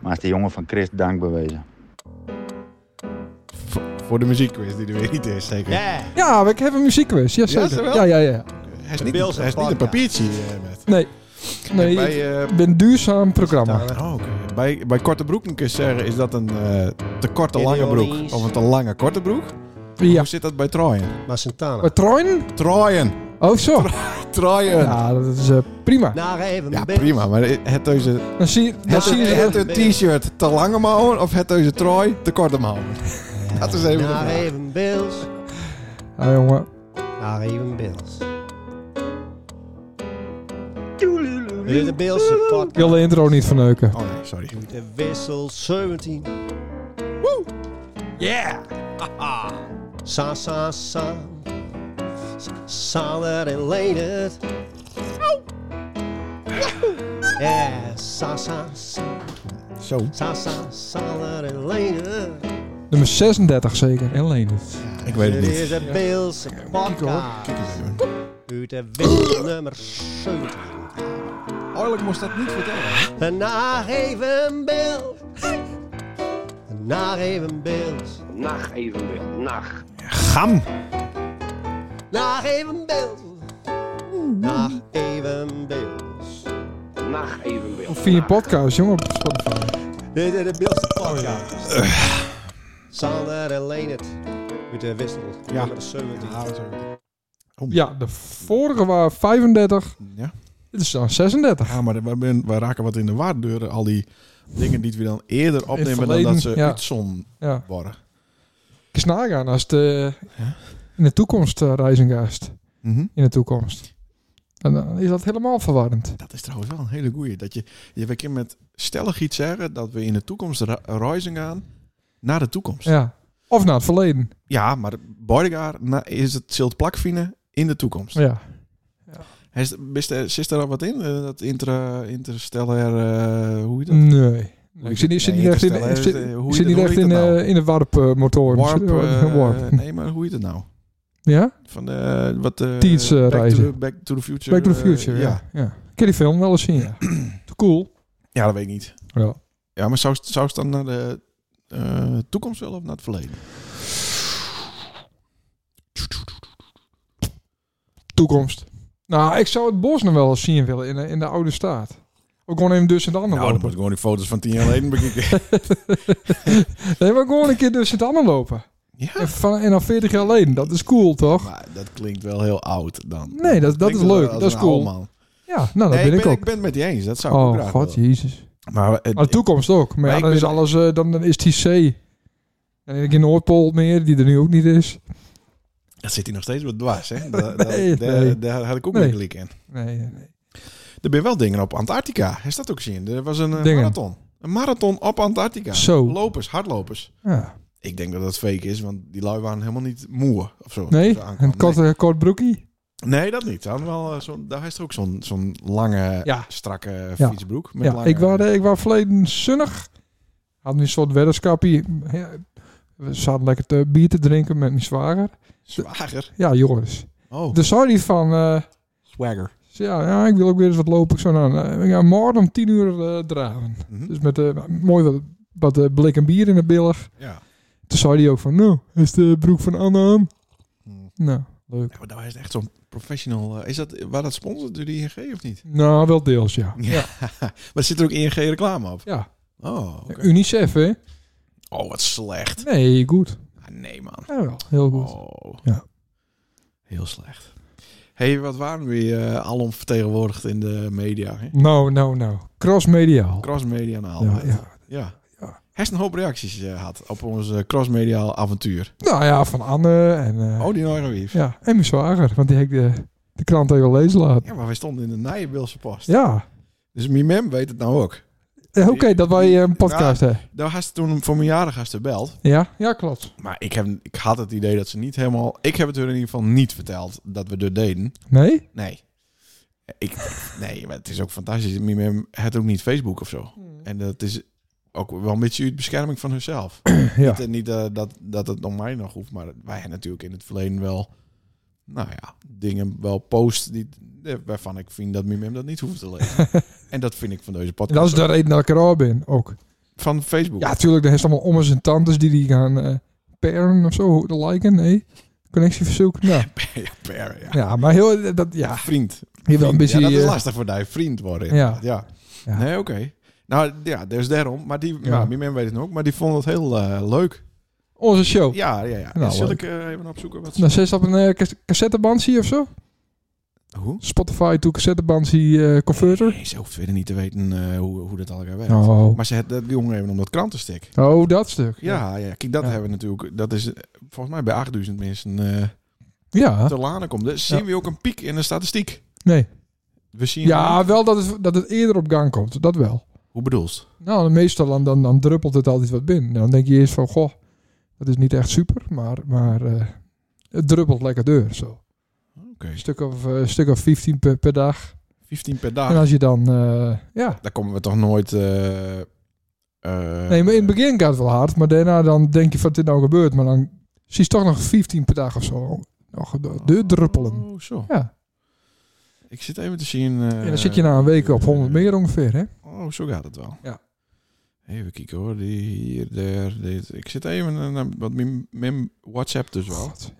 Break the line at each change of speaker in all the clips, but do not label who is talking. Maar is de jongen van Chris dank bewezen.
Voor, voor de muziekquiz die er weer niet is, zeker.
Ja.
Ja, we hebben een muziekquiz. Yes,
Ja,
zeker.
zowel?
Ja, ja, ja.
Hij is
De
niet,
Bills en
hij is niet een
Parka.
papiertje eh, met.
Nee. Nee,
bij,
ik
eh,
ben een duurzaam programma.
oh, oké. bij, bij korte broek moet ik eens zeggen, is dat een eh, te korte lange broek?
Idiotisch.
Of een te lange korte broek?
Ja.
Hoe zit dat bij Trojen?
Maar Santana.
Maar Troin?
Trojen!
Oh, zo.
Trojen! Ja,
Ja, dat is eh, prima.
Nou,
Naar even mijn
prima, maar het deze
Dan zie, dan
het,
zie je...
het een t-shirt te lange mouwen of het deze Troy te korte mouwen? Dat is even de
Naar
vraag.
even Bills.
Ah, jongen.
Naar even Bills. Weer de Bills
Ik wil
podcast.
de intro niet verneuken.
Oh nee, sorry.
De wissel 17. Woo! Yeah! Sa, sa, sa. Sander en Leendert. Yeah, sa, sa, sa.
Zo.
Sa, sa, Sander en Leendert.
Nummer 36 zeker. En Leendert.
Ik weet het
Dit is
niet.
de Bills podcast.
Kijk eens even.
Uit de wissel nummer 17.
Eigenlijk moest dat niet vertellen.
Een Naar even Bills. Een Naar even Bills.
Nacht evenbeeld. Nacht.
Gam!
Naar even Bills. Naar even Bills.
Nacht evenbeeld.
Of via een podcast, jongen. op Spotify.
Dit is de Bills podcast. Sander en Leendert. Uit de wissel
Ja.
nummer 17.
Nou,
Ja, de vorige waren 35.
Ja.
Dit is dan 36.
Ja, Ah, maar we, ben- we raken wat in de waardeuren. Al die dingen die we dan eerder opnemen
verleden,
dan dat ze
ja.
uitzon
Ja.
worden.
Ik snaar aan als de... In de toekomst eh, reizengast. In de toekomst. En dan is dat helemaal verwarrend.
Dat is trouwens wel een hele goeie. Dat je, je we kunnen met stellig iets zeggen dat we in de toekomst ra- reizen gaan naar de toekomst. Ja,
Ja. Of naar het verleden.
maar Boydegaard na- is het zilt plakvinden in de toekomst.
Ja.
Is, is er- zit er al wat in? Eh, Dat intra, interstellair, eh, hoe heet dat?
Nee. Mm, Ik zit, niet- ik zit
Nee,
niet echt in,
interstellar
ik
is,
zit,
eh, hoe
ik
heet
zit
het-
niet
hoe
echt
heet
in,
het nou?
eh, in de warpmotoren.
Warp, eh,
warp.
Nee, maar hoe heet het nou?
Ja?
Van de, wat de...
Tiens, eh,
back, to
reizen.
the, back to the Future.
Back to the
eh,
Future.
ja.
ja. ja. Ik ken die film wel eens zien, ja. Te cool.
ja, dat weet ik niet.
Ja.
Ja, maar zou, zou het dan naar de eh, toekomst willen of naar het verleden?
Nou, Toekomst. Nou, ik zou het bos nog wel eens zien willen in de, in de oude staat. Ook gewoon even dus in het andere
Nou, dan moet ik
lopen.
gewoon die foto's van tien jaar geleden bekijken.
Nee, maar gewoon een keer dus in het andere lopen.
ja,
En, van, en dan 40 jaar geleden. Dat is cool, toch?
maar dat klinkt wel heel oud dan.
Nee, dat, dat is
Klinkt wel
leuk.
als
Dat is
een oude
cool.
man.
Ja, nou, dat
Nee, ik
ben ik
ben, ik
ook.
ben het met je eens. Dat zou ik ook
Oh,
graag
god,
willen.
jezus.
Maar, eh,
Maar de toekomst ook. Maar
Maar
ja,
ik
dan is
ben-
alles, eh, dan, dan is die zee. En dan heb je Noordpool meer, die er nu ook niet is.
dat zit hier nog steeds wat dwars, hè? Daar, daar-
Nee,
daar,
nee.
daar had ik ook
Nee.
niet klik in.
Nee, eh, nee, nee.
Er zijn wel dingen op Antarctica. Is dat ook zien? Er was een eh,
Dingen.
marathon. Een marathon op Antarctica.
Zo.
Lopers, hardlopers.
Ja.
Ik denk dat dat fake is, want die lui waren helemaal niet moe of zo. toen
nee?
ze aankwamen.
een kort, eh, kort broekie.
Nee, nee, dat niet. Ze hadden wel, eh, zo'n- daar is er ook zo'n zo'n lange,
Ja.
strakke
Ja.
fietsbroek. Met
Ja,
lange-
ik, was, ik was verleden zonnig. Had een soort weddenschapje. Ja, we zaten lekker te bier te drinken met mijn zwager.
Zwager.
Ja, Joris.
Oh,
Dus zei hij van... eh,
swagger.
ja, ja, ik wil ook weer eens wat lopen. Ik zo, nou, nou, we gaan morgen om tien uur eh, draven.
Mhm.
Dus met eh, mooi wat, wat eh, blik en bier in de billig.
Ja.
Toen zei hij ook van, nou, is de broek van Anna aan?
Hmm.
Nou, leuk.
ja maar daar is het echt zo'n professional... eh, is dat, waar dat sponsort door die ING of niet?
Nou, wel deels, ja.
Maar zit er ook ING-reclame op?
Ja,
Oh, oké.
UNICEF, hè?
Oh, wat slecht.
Nee, goed.
Ah, nee, man.
Ja, wel. Heel goed.
Oh.
Ja.
Heel slecht. hey, wat waren we eh, alom vertegenwoordigd in de media? Hè?
Nou, nou, nou. Crossmediaal.
Crossmedia en al.
Ja,
Ja.
ja.
ja.
Ja.
Hij is een hoop reacties eh, had op ons eh, crossmediaal avontuur.
Nou ja, van Anne en... eh,
Oh, die nog weer.
Ja, en mijn zwager, want die heb ik de, de krant even lezen laten.
Ja, maar wij stonden in de Nijenbeelse post.
Ja.
Dus mijn mem weet het nou ook.
Eh, Oké, dat wij eh, een podcast hebben.
Daar had ze toen voor mijn jaren had ze belt.
Ja? Ja, klopt.
Maar ik, heb, ik had het idee dat ze niet helemaal... Ik heb het hun in ieder geval niet verteld dat we dit deden.
Nee?
Nee. Ik, nee, maar het is ook fantastisch. Mijn mem had ook niet Facebook of zo.
Hmm.
En dat is ook wel een beetje uit bescherming van hunzelf.
Ja.
Het is Niet eh, dat, dat het om mij nog hoeft, maar wij hebben natuurlijk in het verleden wel... Nou ja, dingen wel post die, eh, waarvan ik vind dat mijn mem dat niet hoeft te lezen. en dat vind ik van deze
En
podcast
dat is de reden dat ik er al ben, ook.
van Facebook.
Ja, tuurlijk, er is allemaal ommers en tantes die die gaan eh paren of zo, liken, nee. Connectieverzoek, nou.
Ja, per, ja.
Ja, maar heel, eh, dat, ja,
Vriend.
hier wel een beetje...
ja, dat is
eh,
lastig voor die vriend worden.
Ja.
inderdaad, Ja.
Ja.
Nee, oké. Nou ja, dus daarom. Maar die,
Ja.
ja. die men weet het nog, maar die vond het heel eh, leuk.
onze show.
Ja, ja, ja.
Nou,
Zal
leuk.
ik eh, even opzoeken wat ze-
Dan zet ze op een eh, cas- cassetteband zie je of zo.
Hoe?
Spotify to cassetteband zie eh, converter.
Nee, ze hoeft verder niet te weten eh, hoe, hoe dat elkaar werkt.
Oh.
Maar ze had dat jongen even om dat krantenstek.
oh, dat stuk.
Ja, ja, kijk, dat
Ja.
hebben we natuurlijk. Dat is eh, volgens mij bij 8000 mensen eh
Ja,
te lanen komt. Dus zien we ook een piek in de statistiek.
nee.
We zien.
Ja, wel dat het, dat het eerder op gang komt, dat wel.
Hoe bedoelst?
Nou, meestal dan, dan, dan druppelt het altijd wat binnen. Nou, Dan denk je eerst van, goh, dat is niet echt super, maar, maar eh, het druppelt lekker deur. Zo.
Oké.
Een stuk of, eh, een stuk of 15 per, per dag.
15 per dag.
En als je dan, eh, ja.
Daar komen we toch nooit. eh, eh,
Nee, maar in het begin gaat het wel hard, maar daarna dan denk je van, dit nou gebeurt. Maar dan zie je toch nog 15 per dag of zo. Nog de- de druppelen.
Oh, zo.
Ja.
Ik zit even te zien. eh,
En dan zit je na een week op 100 meer ongeveer, hè?
Oh, zo gaat het wel.
Ja.
Even kijken hoor. Die hier, daar, dit. Ik zit even eh, naar wat mijn, mijn WhatsApp dus wel.
God.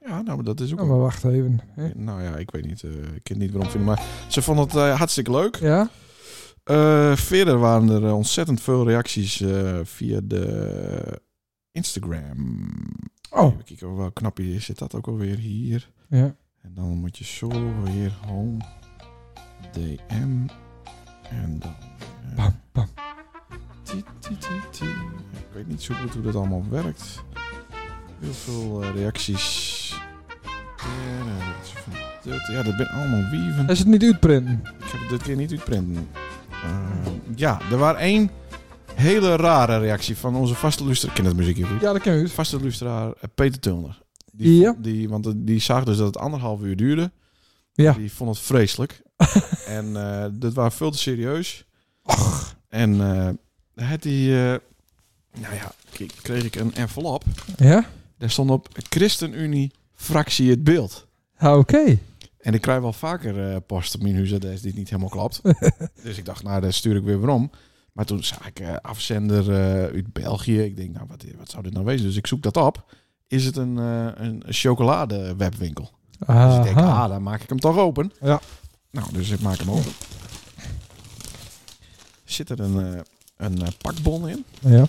Ja, nou, maar dat is ook.
Nou, maar wacht even. Hè?
Nou ja, ik weet niet. eh, ik ken niet waarom vinden, maar ze vond het eh, hartstikke leuk.
Ja?
Eh, verder waren er eh, ontzettend veel reacties eh, via de Instagram.
Oh,
Even kijken, wel knapje zit dat ook alweer hier.
ja.
En dan moet je zo weer home, DM en dan... eh,
Bam, bam.
ti, ti, ti, ti. Ik weet niet zo goed hoe dat allemaal werkt. Heel veel eh, reacties. En, eh, wat is er van dit? Ja, dat ben allemaal wieven.
Hij zit niet uitprinten.
Ik heb het dit keer niet uitprinten. Eh, ja, er was één hele rare reactie van onze vaste luisteraar. Ken dat muziekje goed?
Ja, dat kan uit.
Vaste luisteraar eh, Peter Tulner. Die,
Ja.
die, want die zag dus dat het anderhalf uur duurde.
Ja.
Die vond het vreselijk. en eh, dat was veel te serieus. En eh had die... eh, nou ja, k- kreeg ik een envelop.
Ja?
Daar stond op ChristenUnie fractie het beeld.
Ja, oké.
En ik krijg wel vaker eh post op mijn huis dat dit niet helemaal klopt. dus ik dacht, nou, daar stuur ik weer weer om. Maar toen zag ik eh, afzender eh, uit België. Ik denk, nou, wat, wat zou dit nou wezen? Dus ik zoek dat op. Is het een, eh een chocoladewebwinkel? Dus ik denk,
Aha.
ah, dan maak ik hem toch open.
Ja.
Nou, dus ik maak hem open. Zit er een, eh, een eh, pakbon in?
Ja.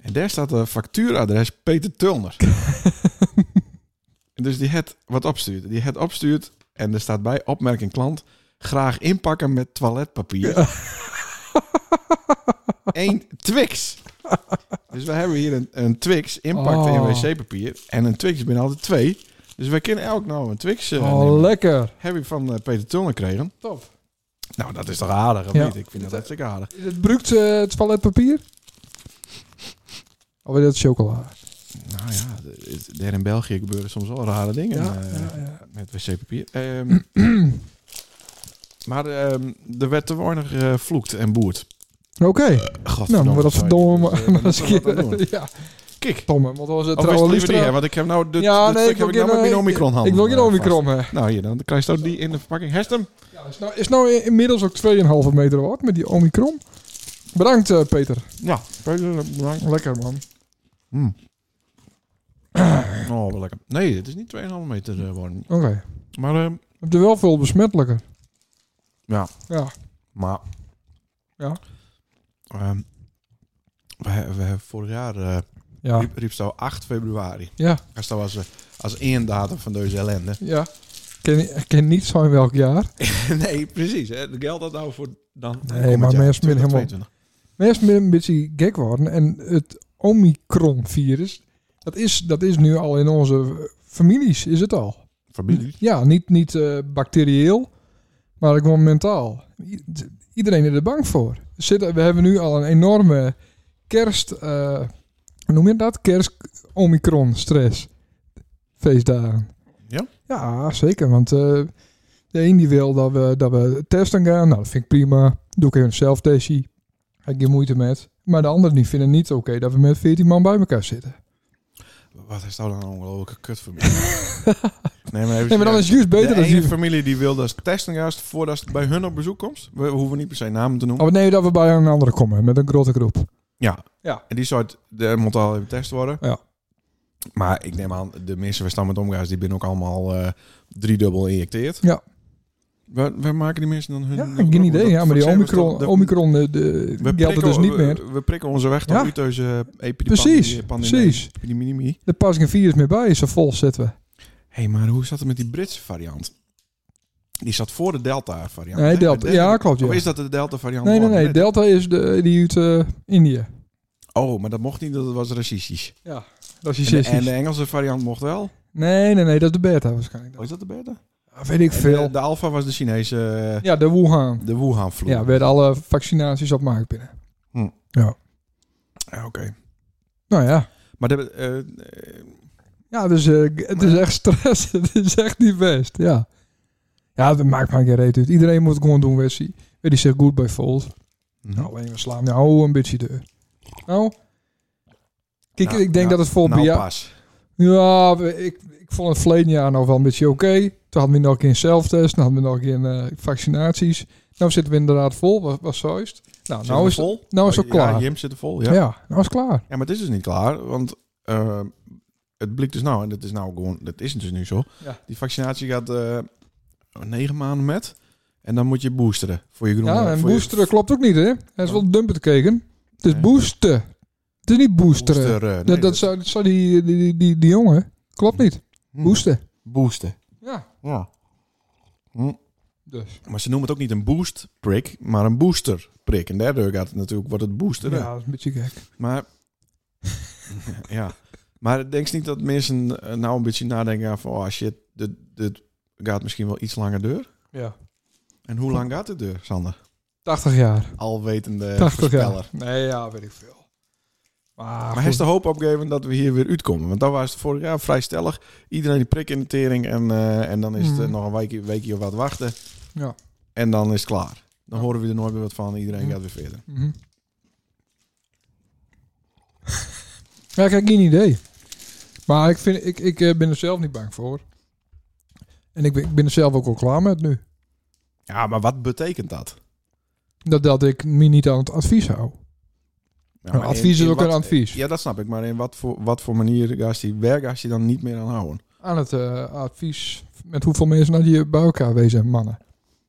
En daar staat de factuuradres Peter Tulner. En dus die het wat opstuurt. Die het opstuurt en er staat bij opmerking klant graag inpakken met toiletpapier. Eén Twix. Dus we hebben hier een, een Twix inpakt in
Oh.
wc-papier. En een Twix binnen altijd twee. Dus we kunnen elk nou een Twix eh,
Oh,
nemen.
lekker.
Heb je van eh, Peter Tulner gekregen.
Top.
Nou, dat is toch aardig, of
Ja.
niet? Ik vind dat hartstikke aardig.
Is het bruikt eh, het toiletpapier? Of is dat chocola?
Nou ja, d- daar in België gebeuren soms wel rare dingen.
Ja,
eh,
ja, ja.
Met wc-papier. Ehm, maar ehm, er werd te weinig eh, vloekt en boert.
Oké. Nou,
Godverdomme.
maar dat
sorry.
verdomme
Dus, eh,
maar
daar moeten
maar eens
we
een
wat aan doen.
keer. Ja,
Kijk. oh,
Tom, want dat was het
Of is het
trouwe
liever die, hè?
luisteraar.
want ik heb nou dit,
Ja,
dit
nee,
stuk
ik
heb
wil
ik nou met
geen
mijn omikron
eh,
hand.
Ik wil geen
eh,
omikron, hè.
vast. Nou hier, dan krijg je ook die in de verpakking. Herst hem.
Ja, is nou, is nou inmiddels ook 2,5 meter wat met die omikron. Bedankt, eh, Peter.
Ja. Oh,
Lekker, man.
wat Nou, lekker. Nee, het is niet 2,5 meter eh, worden.
Oké.
Maar, ehm,
Je hebt er wel veel besmettelijker.
Ja.
Ja.
maar...
Ja.
Ehm, we, we hebben vorig jaar... eh,
Ja.
riep, riep zo 8 februari.
Ja.
Dat was eh, als één datum van deze ellende.
Ja. Ik ken, ik ken niet zo in welk jaar.
nee, precies. Hè. Geldt dat nou voor dan?
Nee, maar mensen zijn helemaal- Mensen zijn een beetje gek worden. En het Omicron-virus, dat is, dat is nu al in onze families, is het al.
Familie.
Ja, niet, niet eh, bacterieel, maar gewoon mentaal. I- iedereen is er bang voor. Er Zitten, we hebben nu al een enorme kerst... eh, hoe noem je dat? Kerst-omikron-stress. Feestdagen.
Ja?
Ja, zeker. Want eh, de een die wil dat we, dat we testen gaan. Nou, dat vind ik prima. Doe ik even een zelftestje. Heb ik geen moeite met. Maar de anderen die vinden niet oké dat we met 14 man bij elkaar zitten.
Wat is dat dan een ongelofelijke kutfamilie? nee, maar, even
Nee, maar dan is het juist beter
de
dat
ene
je...
familie die wil dat testingast voordat het bij hun op bezoek komt. We hoeven niet per se namen te noemen.
Oh nee, dat we bij een andere komen, met een grote groep.
Ja.
Ja.
En die soort de moet al even test worden.
Ja.
Maar ik neem aan, de meeste verstaan met omgaans, die binnen ook allemaal eh driedubbel injecteerd.
Ja.
Waar, waar maken die mensen dan hun...
Ja,
hun-
geen idee.
dat-
Ja, maar die
vaccin was
Omicron,
dat-
Omicron eh, de,
we
geldt er
prikken-
dus niet
we-
meer.
We prikken onze weg tot
Ja.
uit deze eh, epidemie.
Precies,
pandemie-
precies.
Epidemie.
Er past geen virus meer bij, zo vol zitten we.
Hé, hey, maar hoe zat het met die Britse variant? Die zat voor de Delta-variant.
Nee,
hè?
Delta-
Met
ja, klopt, ja.
Of is dat de Delta-variant?
Nee, nee,
geworden?
nee. Delta is de, die uit eh, Indië.
Oh, maar dat mocht niet, dat was racistisch.
Dat
En
is
de,
je
en de Engelse variant mocht wel.
Nee, nee, nee. Dat is de beta waarschijnlijk.
Oh, is dat de beta?
Ah, weet ik
En
veel.
De, de alfa was de Chinese, eh,
Ja, de Wuhan.
de Wuhan-vloer.
Ja, werden alle vaccinaties op markt binnen.
Ja, Ah, oké.
Nou ja.
Maar de, eh, eh,
Ja, dus eh, g- het is echt stress. het is echt niet best, ja. Ja, dat maakt maar geen reet uit. Iedereen moet het gewoon doen, Wessie. Weet die zich goed bij voelt. Nou, alleen we slaan nou een beetje deur. Nou, kijk,
Nou,
ik
nou,
denk dat het voor
nou
bij jou-
pas.
Ja, we- ik, ik vond het verleden jaar nog wel een beetje oké. Toen hadden we nog een keer zelftest, toen hadden we nog een keer eh, vaccinaties. Nou zitten we inderdaad vol, was, was zo is het. Nou,
Zit er
nou is,
vol? Oh,
nou is het
Ja,
klaar.
Jim zit er vol,
Ja.
ja.
nou is het klaar.
Ja, maar het is dus niet klaar, want eh, het blijkt dus nou, en dat is nou gewoon, dat is dus nu zo.
Ja.
Die vaccinatie gaat eh, negen maanden met, en dan moet je boosteren voor je groene.
Ja, en
voor je-
boosteren klopt ook niet, hè? Hij is wel dumper te kijken. Het is
Nee.
boosten. Het is niet boosteren.
boosteren. Nee,
dat, dat, zou, dat zou die, die, die, die, die jongen. Klopt niet.
Hm.
Boosten.
Boosten.
Ja.
Ja.
Dus.
Maar ze noemen het ook niet een boost prik, maar een booster prik. En daardoor gaat het natuurlijk wordt het boosteren.
Ja, dat is een beetje gek.
Maar ja, maar denk je niet dat mensen eh, nou een beetje nadenken van oh shit, dit, dit gaat misschien wel iets langer deur.
Ja.
En hoe lang gaat het deur, Sander?
80 jaar.
Alwetende
80
voorspeller.
jaar. Nee, ja, Nou, weet ik veel. Maar,
Maar hij is de hoop opgegeven dat we hier weer uitkomen. Want dat was het vorig jaar vrij stellig. Iedereen die prik in de tering en, eh, en dan is het eh,
Mhm.
nog een weekje, weekje of wat wachten.
Ja.
En dan is het klaar. Dan
Ja.
horen we er nooit meer wat van. Iedereen
Mhm.
gaat weer verder.
Mhm. ja, ik heb geen idee. Maar ik, vind, ik, ik eh, ben er zelf niet bang voor. En ik ben, ik ben er zelf ook al klaar met nu.
Ja, maar wat betekent dat?
Dat, dat ik me niet aan het advies hou.
Ja,
Nou,
maar
advies
in-
is
in
ook
wat-
een advies.
Ja, dat snap ik. Maar in wat voor, wat voor manier gaat die werk als je dan niet meer aan houden?
Aan het eh, advies met hoeveel mensen had je bij elkaar wezen, mannen.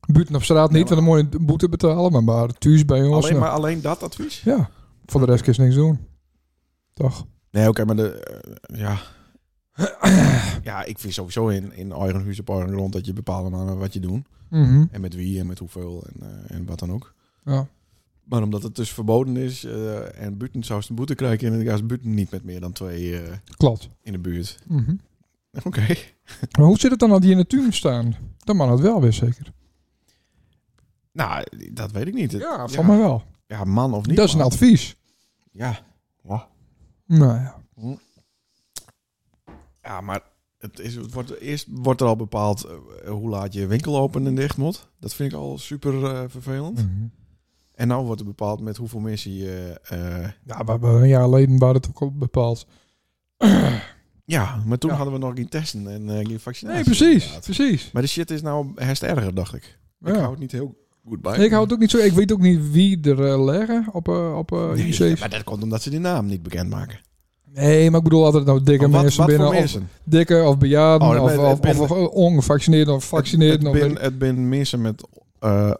Buiten op straat
Nee,
niet, want dan moet je een boete betalen. Maar, maar thuis bij ons.
Alleen
nou.
maar alleen dat advies?
Ja, voor de rest kun je niks doen. Toch?
Nee, oké, maar de... eh, ja. ja, ik vind sowieso in, in eigen huis op eigen grond dat je bepaalde maanden wat je doet.
Mhm.
En met wie en met hoeveel en, eh, en wat dan ook.
Ja.
Maar omdat het dus verboden is eh, en buiten zou ze een boete krijgen... en dan gaat ze buiten niet met meer dan twee eh,
Klopt.
in de buurt.
Mhm.
Oké.
Maar hoe zit het dan dat die in de tuin staan? Dan mag het wel weer zeker.
Nou, dat weet ik niet.
Ja, van mij wel.
Ja, man of niet
dat is een
man.
advies.
Ja.
Nou ja.
Ja, maar het is, het wordt, eerst wordt er al bepaald eh, hoe laat je winkel open en dicht moet. Dat vind ik al super eh, vervelend.
Mhm.
En nou wordt er bepaald met hoeveel mensen je... eh,
Ja, we hebben een jaar geleden waren het ook al bepaald.
ja, maar toen
Ja.
hadden we nog geen testen en eh, geen vaccinatie.
Nee, precies.
inderdaad.
Precies.
Maar de shit is nou herst erger, dacht ik. Ik hou
Ja.
het niet heel goed bij.
Nee, ik hou het ook niet zo. Ik weet ook niet wie er eh, leggen op, eh op eh,
Nee,
IC's.
maar dat komt omdat ze die naam niet bekendmaken.
Nee, maar ik bedoel altijd nou dikke
Maar
mensen binnen.
voor
Of dikke of bejaarden
Oh, dat
of,
ben-
of,
het ben-
of eh, ongevaccineerden of
het,
vaccineerden.
het
of
ben, het ben mensen met eh,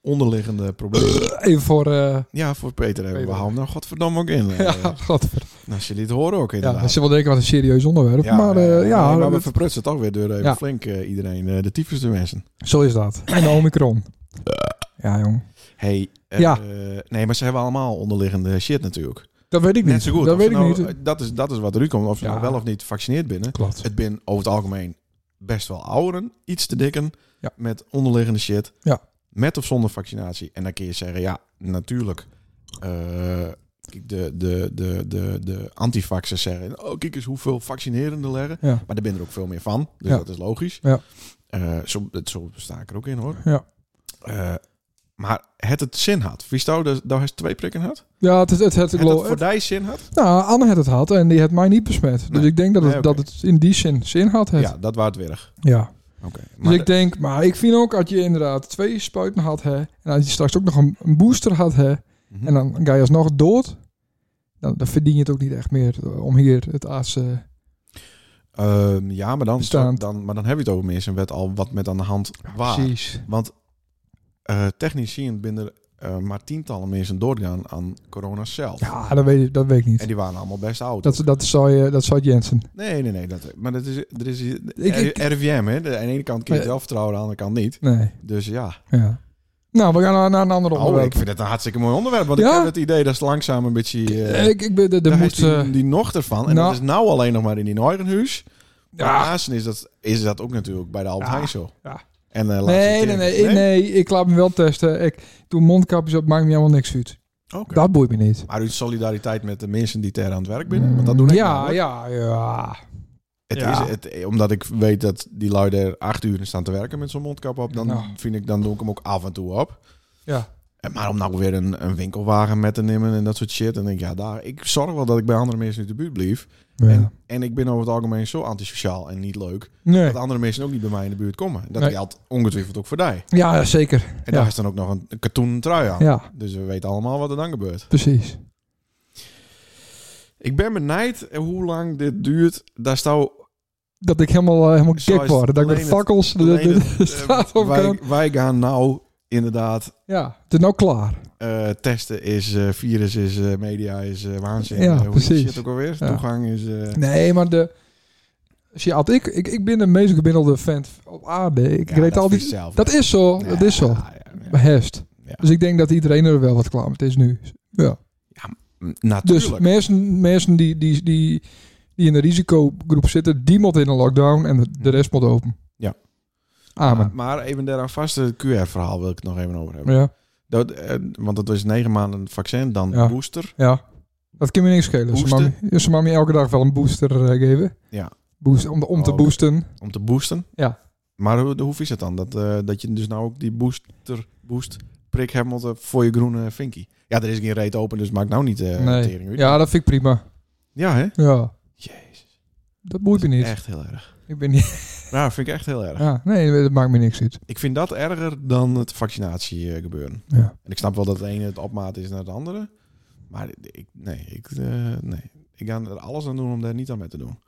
onderliggende problemen.
weet ik- even voor... eh
ja, voor Peter hebben we
Peter.
houden nou godverdomme ook in. eh.
ja, godver.
Nou, als jullie het horen ook
Ja,
inderdaad.
dat ze wel denken wat een serieus onderwerp. maar eh,
eh,
ja,
nee, maar we
dat-
verprutsen het ook weer door even
Ja.
flink eh, iedereen eh, de tyfus te wensen.
zo is dat. En de Omicron. Ja, jong.
Hey, eh,
Ja.
eh, nee, maar ze hebben allemaal onderliggende shit natuurlijk.
Dat weet ik niet.
Net zo goed.
Dat
Of ze
weet ik
nou-
niet.
eh, Dat is, dat is wat eruit komt. Of ze
Ja.
nou wel of niet gevaccineerd binnen.
Klopt.
Het bin over het algemeen best wel ouderen. Iets te dikken.
Ja.
Met onderliggende shit.
Ja.
Met of zonder vaccinatie. En dan kun je zeggen, ja, natuurlijk. eh, kijk, de, de, de, de, de antivaxers zeggen, oh kijk eens hoeveel vaccinerenden leggen.
Ja.
Maar daar ben er ook veel meer van. Dus
Ja.
dat is logisch.
Ja.
Eh, zo, dat- zo sta ik er ook in hoor.
Ja.
Eh, Maar het het zin had. Wist je dat dat hij twee prikken had?
Ja, het, het, het, het,
Het het voor die zin had?
Nou, Anne had het had en die had mij niet besmet. Dus
Nee.
ik denk dat het,
Nee, oké.
dat het in die zin zin had. Het.
Ja, dat was het weer.
ja.
Oké.
Dus ik denk, maar ik vind ook als je inderdaad twee spuiten had, hè, en als je straks ook nog een, een booster had, hè,
Mhm.
en dan ga je alsnog dood, dan, dan verdien je het ook niet echt meer eh, om hier het AS. eh,
Ehm, ja, maar dan,
Bestaan.
dan, maar dan heb je het over meer zijn wet al wat met aan de hand waar.
precies.
Want eh, technisch zien binnen eh maar tientallen mensen doorgaan aan corona zelf.
Ja, dat weet, ik- dat weet ik
En
niet.
die waren allemaal best oud.
Dat, dat, zou je, dat zou het Jensen.
Nee, nee, nee. Dat, maar dat is, er is eh,
Ik- ik-
R- RIVM, hè. De- Aan de ene kant kun je het
Eh.
wel vertrouwen, aan de andere kant niet.
Nee.
Dus ja.
Ja. Nou, we gaan naar, naar een ander
Oh, ik
onderwerp.
vind het een hartstikke mooi onderwerp. Want ik
Ja?
heb het idee dat ze langzaam een beetje... eh,
Eh, ik, ik ben de, de
daar
moet.
is die,
eh,
die nog ervan. En
nou.
dat is nou alleen nog maar in die Neurenhuis. Maar
Ja.
Azen is dat, is dat ook natuurlijk bij de Albert
Ja.
Heijn zo.
Ja.
En, eh, laatste
nee,
keer-
nee, nee, nee, Ik laat me wel testen. Ik doe mondkapjes op, maakt me helemaal niks uit.
Oké.
Dat boeit me niet.
Maar uit solidariteit met de mensen die ter aan het werk binnen. Want dat doen ik
ja,
namelijk.
ja, ja.
Het
Ja.
is, het, eh, omdat ik weet dat die lui er acht uur in staan te werken met zo'n mondkap op, dan
Nou.
vind ik, dan doe ik hem ook af en toe op.
Ja.
En Maar om nou weer een, een winkelwagen met te nemen en dat soort shit, dan denk ik, ja, daar, ik zorg wel dat ik bij andere mensen in de buurt blijf. En, en ik ben over het algemeen zo antisociaal en niet leuk,
Nee.
dat andere mensen ook niet bij mij in de buurt komen. Dat
Nee.
geldt ongetwijfeld ook voor die.
Ja, zeker.
En
Ja.
daar is dan ook nog een, een katoenen trui aan.
Ja,
Dus we weten allemaal wat er dan gebeurt.
precies.
Ik ben benijd hoe lang dit duurt. Daar staat
Dat ik helemaal, eh, helemaal
Zo
gek
is
word. Dat ik
alleen
met
het-
fakkels de,
alleen
de-
het,
de
eh,
straat op
wij,
kan.
wij gaan nou inderdaad
Ja, het is nou klaar.
Eh, testen is eh, virus, is eh, media, is eh, waanzin.
Ja,
Eh, Hoe is die
precies.
shit ook alweer?
Ja.
Toegang is... eh,
Nee, maar de... Zie je, Ad, ik, ik, ik ben de meest gemiddelde fan op aarde. Ik
ja,
weet al
is
die...
zelf.
Dat is zo,
Ja,
dat is zo.
ja, ja, ja.
Behest.
Ja.
Dus ik denk dat iedereen er wel wat klaar mee is nu.
Mm,
Dus
Natuurlijk.
mensen, mensen die, die, die, die in de risicogroep zitten, die moeten in een lockdown en de, de rest moet open.
Ja. Ah,
Amen.
Maar, maar even daaraan vast, het QR-verhaal wil ik het nog even over hebben.
Ja,
Dat, eh, want dat was negen maanden een vaccin, dan
Ja.
booster.
ja. Dat kan me niks schelen. Ze
Boosten?
mag me- Ze mag me elke dag wel een booster eh, geven.
Ja.
Boost, om om te
Oh, oké.
boosten.
Om te boosten.
Ja.
Maar hoe, hoe is het dan? Dat, eh, dat je dus nou ook die booster, boost prik hebt moeten voor je groene vinkie. Ja, er is geen reet open, dus maak nou niet eh
Nee.
tering uit.
Ja, dat vind ik prima.
ja, hè?
Ja.
Jezus.
Dat boeit me niet.
Echt heel erg.
Ik ben niet...
Nou, vind ik echt heel erg.
Ja, nee, dat maakt me niks uit.
Ik vind dat erger dan het vaccinatie eh, gebeuren.
Ja.
En ik snap wel dat het ene het opmaat is naar het andere. Maar ik, nee, ik, eh, nee. ik ga er alles aan doen om daar niet aan mee te doen.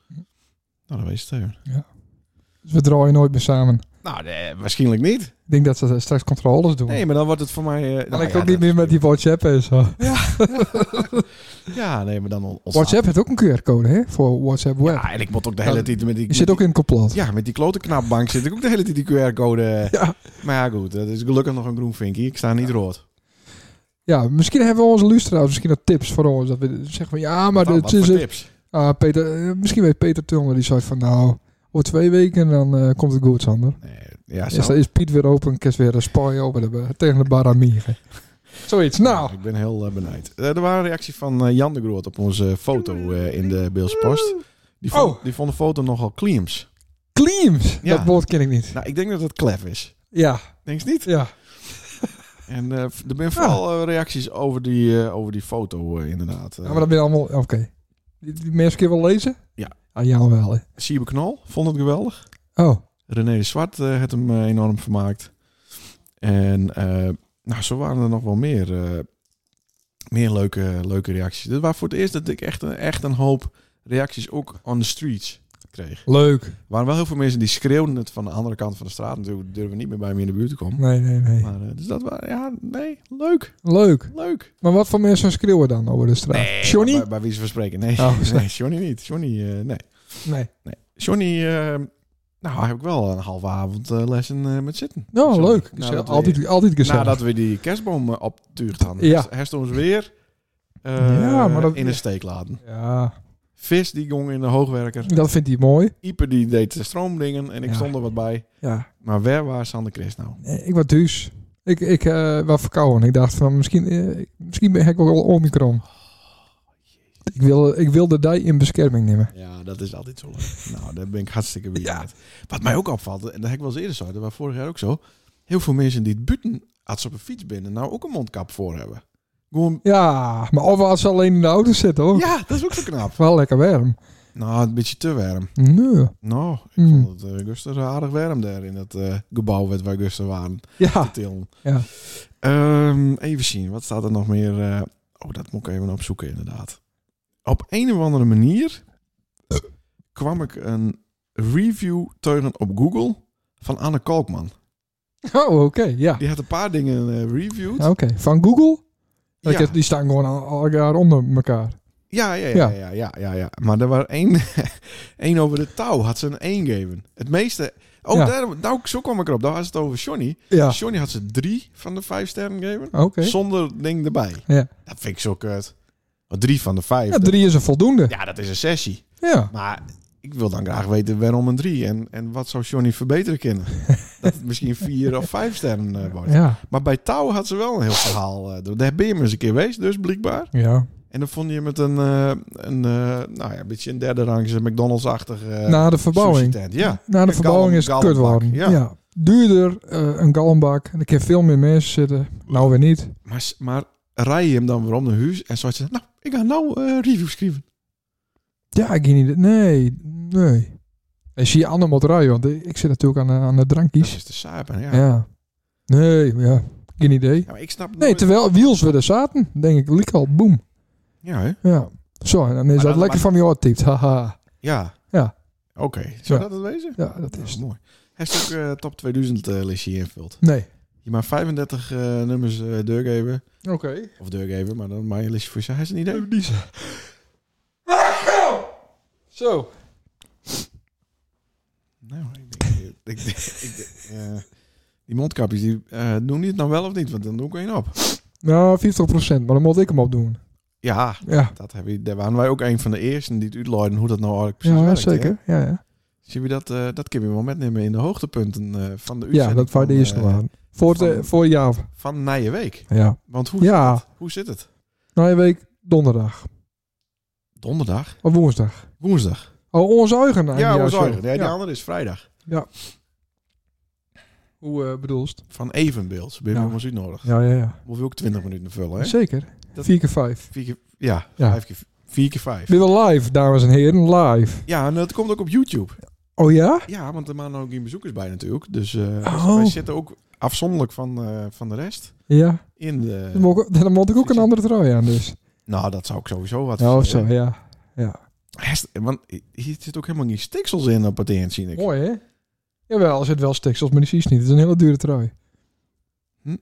Nou, dan wees het even.
Dus we draaien nooit meer samen.
Nou, nee, waarschijnlijk niet.
Ik denk dat ze eh, straks controles doen.
Nee, maar dan wordt het voor mij... eh,
Dan
nou
ik
ja,
ook niet
dat-
meer met die WhatsApp en zo.
Ja, nee, maar dan on- ontstaat-
WhatsApp heeft ook een QR-code, hè? Voor WhatsApp Web.
Ja, Ah, en ik moet ook de
Ja,
hele tijd met die...
Je zit ook in het complot.
Ja, met die klote knapbank zit ik ook de hele tijd die QR-code.
Ja.
Maar ja, goed. Dat is gelukkig nog een groen vinkie. Ik sta niet rood.
Ja, misschien hebben we onze luisteraars misschien nog tips voor ons. Dat we zeggen van ja, maar
Wat dan?
dit
Nou, Wat
is
voor
het.
tips?
Ah, Peter, eh, misschien weet Peter Tulner die zei van nou, over twee weken dan eh, komt het goed, Sander.
Nee, ja,
Is,
Ah, zo.
is Piet weer open, kerst weer een spaai open de ba- eh, tegen de baramieren. Zoiets. Nou,
Ik ben heel eh, benijd. Eh, er waren reacties van eh, Jan de Groot op onze foto eh, in de Beelse Post. Die vond,
Oh.
die vond de foto nogal claims.
claims.
Ja.
Dat woord ken ik niet.
Nou, ik denk dat het klef is.
Ja,
Denk je niet?
ja.
En eh, er zijn vooral eh, reacties over die, eh, over die foto eh, inderdaad. Eh,
ja maar dat ben je allemaal... Oké. Die, die mensen kunnen wel lezen?
Ja.
Ah, ja, wel. hè.
Eh, Siebe Knol vond het geweldig.
Oh,
René de Zwart eh heeft hem eh, enorm vermaakt. En eh, nou, zo waren er nog wel meer, eh, meer leuke, leuke reacties. Dit was voor het eerst dat ik echt een, echt een hoop reacties ook on the streets kreeg.
leuk.
Er waren wel heel veel mensen die schreeuwden het van de andere kant van de straat. Natuurlijk durven we niet meer bij me in de buurt te komen.
Nee, nee, nee.
Maar, eh, dus dat was, ja, nee, leuk,
Leuk.
leuk.
Maar wat voor mensen schreeuwen dan over de straat? Eh, Johnny?
Bij, bij wie ze verspreken. Nee,
Oh,
nee Johnny niet. Johnny, eh, nee.
Nee.
Johnny, eh, nou, heb ik wel een halve avond eh, lessen eh, met zitten.
Nou,
Johnny,
leuk.
nadat we-
altijd, altijd gezellig.
Nadat we die kerstboom eh, optuurd hadden.
Ja.
Hij stond ons weer eh,
Ja, maar dat-
in de steek laten.
Ja.
Vis die gong in de hoogwerker.
Dat vindt hij mooi.
Ieper die deed de stroomdingen en ik
Ja.
stond er wat bij.
Ja.
Maar waar was Sander Christ nou?
Ik was thuis. Ik, ik eh was verkouden. Ik dacht van misschien, eh, misschien ben ik ook wel omikron. Ik wil, ik wil de dij in bescherming nemen.
Ja, dat is altijd zo leuk. nou, daar ben ik hartstikke blij
Ja.
met. Wat mij ook opvalt, en dat heb ik wel eens eerder zo, dat was vorig jaar ook zo. Heel veel mensen die het buiten als ze op een fiets binnen, nou ook een mondkap voor hebben. Gewoon,
Ja, maar of als ze alleen in de auto zitten hoor.
ja, dat is ook zo knap.
Wel lekker warm.
Nou, een beetje te warm.
Nee.
Nou, ik
Mm.
vond het eh, Guster aardig warm daar in dat eh, gebouw werd waar Guster waren.
Ja.
Tillen.
Ah. Ja.
Ehm, even zien, wat staat er nog meer? eh, oh, dat moet ik even opzoeken, inderdaad. Op een of andere manier kwam ik een review teuren op Google van Anne Kalkman.
Oh, oké. ja.
Die had een paar dingen eh, reviewed.
Oké. Van Google?
Ja,
Ik heb- Die staan gewoon al, al jaar onder elkaar.
ja, ja, ja, ja, ja, ja, ja. Maar er was één, één over de touw, had ze een één gegeven. Het meeste... Oh,
Ja.
daar, nou, zo kwam ik erop. Daar was het over Johnny.
Ja.
Johnny had ze drie van de vijf sterren gegeven.
Oké.
Zonder ding erbij.
Ja.
Dat vind ik zo kut. Want drie van de vijf.
Ja,
dat-
drie is een voldoende.
Ja, dat is een sessie.
Ja.
Maar ik wil dan graag weten waarom een drie. En, en wat zou Johnny verbeteren kunnen? dat het misschien vier of vijf sterren eh, wordt.
Ja.
Maar bij Touw had ze wel een heel verhaal. eh, door. daar ben je maar eens een keer geweest, dus blijkbaar.
Ja.
En dan vond je met een, eh, een eh, nou ja, een beetje een derde rangse McDonald's-achtig eh,
Na de verbouwing.
sushi-tent. Ja.
Na de
Een
verbouwing
galm-
is het kut
galmbak,
worden.
ja.
Ja. Duurder, eh, een galmbak. En er kan veel meer mensen zitten. Nou weer niet.
Maar, s- maar rij je hem dan weer om naar huis en zo had je nou, ik ga nou eh, review schrijven.
Ja, ik ging niet. Nee, nee. En zie je Anne moet rijden, want ik zit natuurlijk aan, de- aan de
Dat
drankjes.
is de saap. hè, Ja.
Ja. Nee, ja. Geen idee.
Ja, maar ik snap het
Nee,
nooit.
terwijl wiels weer er zaten, denk ik, liek al, boem.
Ja, hè?
Ja. Zo, en dan is dat,
dat-
lekker
maar-
van je oortypt. Haha.
Ja.
Ja.
Oké, zou
Ja.
dat het wezen?
Ja, dat
Dat
is
is
het.
mooi. Hij heeft ook eh, top 2000 eh listje invult.
Nee.
Je maar 35 eh, nummers eh deurgeven.
Oké.
Of deurgeven, maar dan maak je een listje voor jezelf. Hij is een idee.
Zo.
Nou, ik denk... Ik, denk- ik, denk, eh, die mondkapjes, die, eh, doen die het nou wel of niet? Want dan doe ik er één op.
Nou, 50%, maar dan moet ik hem opdoen.
Ja,
Ja,
dat heb je, daar waren wij ook een van de eersten die het uitleiden hoe dat nou eigenlijk precies
ja
werkt. hè?
zeker. Ja, ja.
Zien we dat, eh, dat kun je wel metnemen in de hoogtepunten eh, van de
ja
uitzending
dat waren de
van,
eerste
eh,
waren. Voor, de,
van-
voor Java.
Van Nije Week.
Ja.
Want hoe,
Ja.
zit het? hoe zit het?
Na een week Nou, donderdag.
Donderdag?
Of woensdag.
Woensdag?
Oh, ons eigen.
Ja,
eigen
ons
show.
eigen. Ja, die
Ja.
andere is vrijdag.
Hoe eh bedoelst?
Van Evenbeeld. Ben je
Ja.
ja. ons uitnodig.
Ja, ja, ja.
Moet je ook 20 minuten vullen, hè?
Zeker.
Dat-
Vier keer vijf.
Vier keer, ja,
Ja.
Vijf keer, vier keer vijf.
We willen live, dames en heren. Live.
Ja, en dat komt ook op YouTube.
Oh ja?
Ja, want er waren ook geen bezoekers bij natuurlijk. Dus eh,
Oh.
wij zitten ook afzonderlijk van, eh, van de rest
Ja.
in de...
Dan moet ik, dan moet ik ook een andere trui aan dus.
Nou, dat zou ik sowieso wat...
Ja, of zo, ja.
Want hier zit ook helemaal geen stiksels in op het eind, zie ik.
Mooi, hè? Jawel, er zit wel stiksels, maar die zie je niet. Het is een hele dure trui.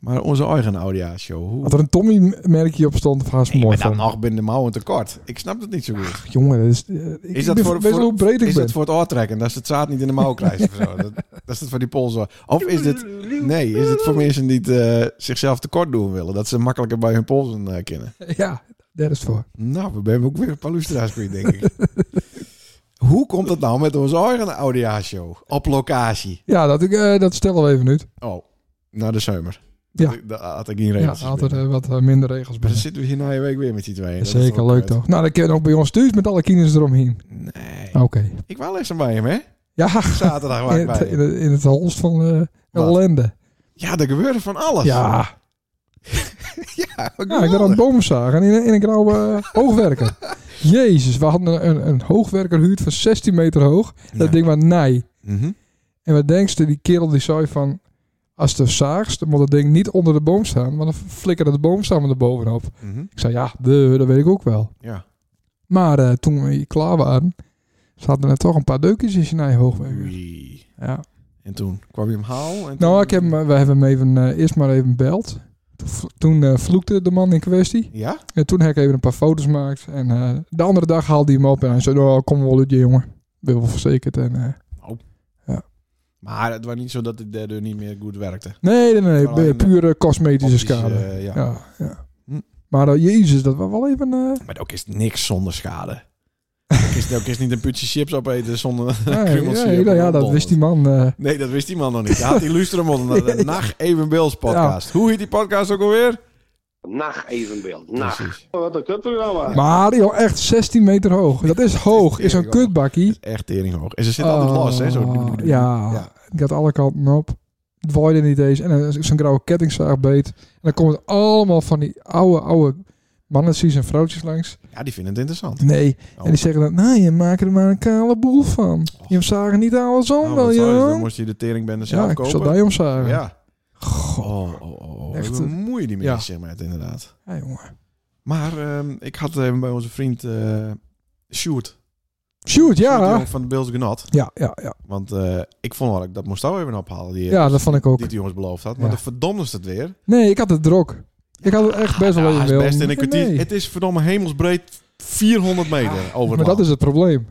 Maar onze eigen Audia-show, hoe...
Had er een Tommy-merkje op stond, of haast
Ik
mooi
ben dan
van.
nog binnen de mouwen tekort. Ik snap het niet zo goed.
Jongen, dat is, eh, ik
Is
is
dat
ben
voor-
best wel
voor-
hoe breed ik
Is
ben.
het voor het oortrekken? Dat ze het zaad niet in de mouw krijgen of zo? Dat, dat is het voor die polsen. Of is het... Nee, is het voor mensen die het, eh, zichzelf tekort doen willen? Dat ze makkelijker bij hun polsen eh, kennen?
Ja, daar is het voor.
Nou, we hebben ook weer een paar luisteraars voor je, denk ik. Hoe komt het nou met onze eigen Audia-show? Op locatie.
Ja, dat, ik, eh, dat stellen we even nu.
Oh, naar de zomer.
Ja.
Dat- Dat had ik niet
Ja,
regels.
altijd eh, wat eh, minder regels
Maar
bij.
dan zitten we hier na je week weer met die tweeën. Dat is
Zeker,
ook eh,
leuk
kut.
toch? Nou, dan kun je ook bij ons stuurt met alle kines eromheen.
Nee.
Oké.
Ik wou lessen bij hem, hè?
Ja,
Zaterdag waar ik
in
bij
het, in
hem.
het, in het holst van eh
Wat?
ellende.
Ja, er gebeurde van alles.
Ja.
ja, wat
Ja, ik ben aan
geweldig.
het boomzagen in, een- in een grauwe eh, hoogwerker. Jezus, we hadden een, een, een hoogwerker huurd van 16 meter hoog. Dat
Ja.
ding was nij.
Mhm.
En wat denkst je, die kerel die zei van... Als je zaagst, dan moet dat ding niet onder de boom staan. Want dan flikkerde de boomstammen er bovenop.
Mhm.
Ik zei, ja, de, dat weet ik ook wel.
Ja.
Maar eh, toen we hier klaar waren... zaten er toch een paar deukjes in zijn nij hoogwerker.
Oei.
Ja.
En toen kwam je hem haal. En
Nou,
toen-
ik heb, hem, eh, we hebben hem even, eh, eerst maar even beld. Toen eh, vloekte de man in kwestie.
Ja?
En toen heb ik even een paar foto's gemaakt. En eh, de andere dag haalde hij hem op. En hij zei, oh, kom wel uit je jongen. Ben wel verzekerd. En, eh,
Maar het was niet zo dat de derde niet meer goed werkte.
nee, nee, nee.
Alleen,
nee pure cosmetische
Optisch,
schade.
eh, ja.
ja, ja.
Hm.
Maar eh, jezus, dat was wel even... eh,
Maar ook is het niks zonder schade. ook, is, ook is niet een putje chips opeten zonder
nee,
krummeltje
nee,
op
nou
een
ja, dat
donder.
wist die man. eh,
Nee, dat wist die man nog niet. Hij had die luisteren moeten naar de Nacht Evenbeels podcast. Hoe heet die podcast ook alweer?
Nacht evenbeeld. Nacht.
Precies.
Wat een kutprogramma.
Maar joh, echt 16 meter hoog. Dat is hoog. Is een kutbakkie.
Echt teringhoog. En ze zitten altijd los, hè? Zo.
Ah, ja.
Ja.
ik had alle kanten op. Het waaide niet eens. En dan zo'n grauwe kettingzaag beet. En dan komt het allemaal van die oude, oude mannetjes en vrouwtjes langs.
Ja, die vinden het interessant.
Nee.
Oh.
En die zeggen dan, nou, je maakt er maar een kale boel van. Je zagen niet alles om,
Nou,
wel,
wat zou je-
joh.
Dan moest je de teringbende zelf
Ja, ik
kopen.
zal daar omzagen. Ja.
Ja. Oh, oh, oh, oh.
Echt,
Echt
eh,
bemoeien die
ja.
mensen zich met, inderdaad.
jongen.
Maar ehm, ik had even bij onze vriend eh Sjoerd.
Shoot,
Sjoerd de
ja.
Jong van de Beels Genot.
Ja, ja, ja.
Want eh, ik vond wel dat ik dat moest ook even ophalen. Die,
Ja, dat vond ik ook.
die de jongens beloofd had. Maar
Ja.
de verdomde is het weer.
Nee, ik had het drok. Ik had het echt best wel
Ja,
even
is
wil.
best in een kwartier.
Nee,
Het is verdomme hemelsbreed 400 meter over
Ah, Maar dat is het probleem.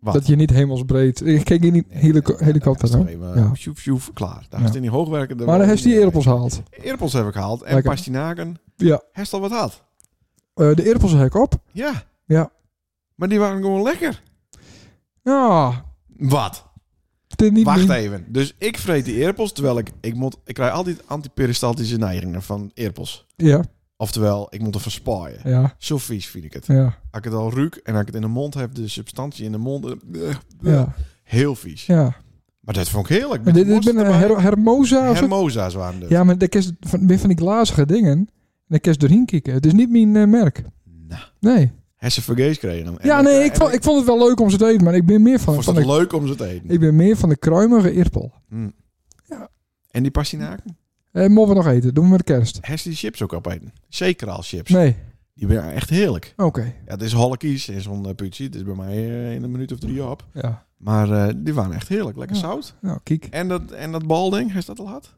Wat?
Dat je niet hemelsbreed... Ik kijk hier niet helico helikopter aan. Ja.
Ja. Sjoef, sjoef, klaar. Daar
Ja.
is het in die hoogwerkende...
Maar dan heeft hij die eerpels gehaald.
Eerpels heb ik gehaald. En
Lekker.
pastinaken.
Ja.
Heeft al wat had.
Eh, de eerpels hek op.
Ja.
Ja.
Maar die waren gewoon lekker.
Ja,
Wat?
het is niet
Wacht
min-
even. Dus ik vreet die eerpels, terwijl ik... Ik, moet, ik krijg altijd antiperistaltische neigingen van eerpels.
Ja,
Oftewel, ik moet er verspaaien.
ja,
Zo vies vind ik het.
ja,
Als ik het al ruik en als ik het in de mond heb, de substantie in de mond... eh, eh,
ja.
Heel vies.
ja.
Maar dat vond ik heerlijk.
En
Met
dit, dit
worst
ben een
erbij.
her hermosa of zo.
Hermosa's waren dus.
Ja, maar dat is van, weer van die glazige dingen. En dan kun je doorheen kijken. Het is niet mijn eh, merk.
Nou,
Nee.
heb ze vergees kregen. En
Ja,
dat-
nee,
en
ik vond, ik vond het wel leuk om ze te eten, maar ik ben meer van,
vond het
van de,
leuk om ze te eten.
ik ben meer van de kruimige eerpel.
En die pastinaken?
Eh, mogen we nog eten? Doen we met kerst?
Heb ze die chips ook opeten? Zeker chips.
Nee.
Die waren echt heerlijk.
Oké.
Ja, het is hollekies in zo'n eh, putje. Het is bij mij eh, in een minuut of drie op.
Ja.
Maar eh, die waren echt heerlijk. Lekker
Ja.
zout.
Nou, kijk.
En dat, en dat balding, heeft dat al gehad?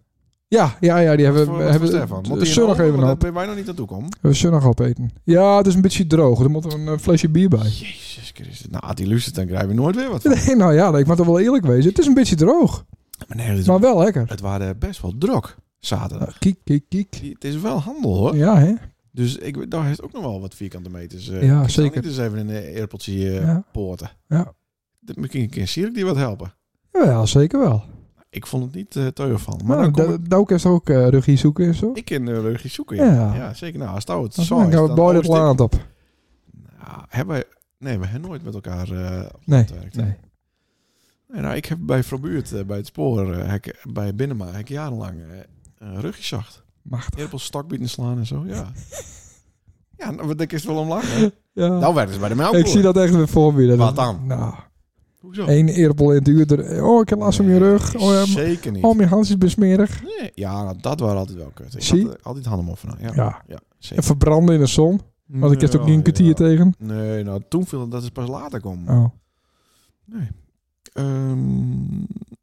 Ja, ja, ja, die hebben
Wat voor- wat
we
voor
hebben
Stefan? Moet
we
die
zonnig
in de oven?
even
Want
op.
Daar ben wij nog niet naartoe komen.
We zonnig op eten. Ja, het is een beetje droog. Er moet een eh, flesje bier bij.
Jezus Christus. Nou, had die luistert, dan krijgen we nooit weer wat.
Nee, nou ja, ik moet er wel eerlijk wezen. Het is een beetje droog,
Maar nee, het,
maar wel lekker.
het waren best wel drok zaterdag.
Nou, Kiek, kiek, kiek.
Het is wel handel hoor.
Ja, hè?
Dus ik, daar heeft ook nog wel wat vierkante meters. eh.
Ja,
Ik zal
zeker.
Niet eens even in een eerpeltje eh,
Ja.
poorten.
Ja.
De- Misschien kan Sirik die wat helpen.
Ja, zeker wel.
Ik vond het niet eh teuren van. Maar
Maar
dan kom
nou, da- daar is ook eh regie zoeken en zo.
ik, ik in de regie zoeken. Ja.
Ja.
ja. zeker. Nou, als dat het
Dan
zo is,
gaan we
dan
bij dat
oost ik-
land op.
Nou, hebben wij... Nee, we hebben nooit met elkaar eh op
Nee,
het werk.
nee.
Nee, nou, ik heb bij Verbuurt, eh, bij het spoor, eh, heb ik- bij Binnenma, heb ik jarenlang eh een rugje zacht.
Machtig.
Eerpels stokbieten slaan en zo, ja. ja, nou, wat denk je, is het wel om lachen?
Ja.
Nou, werden ze bij de melk.
ik zie dat echt weer voor me. Dat-
Wat dan?
Nou,
Hoezo?
één eerpel in het uur. er- Oh, ik heb last om je rug.
Nee,
Oh, ja, m-
zeker niet.
oh, mijn hand is besmerig.
Nee, ja, nou, dat waren altijd wel kut. Ik
Zie?
had, eh, altijd handen om van. Ja, ja.
Ja. En
zeker.
verbranden in de zon. Want ik heb het ook niet een kwartier
Ja.
tegen.
Nee, nou, toen viel het, dat is pas later komen.
Oh.
Ehm,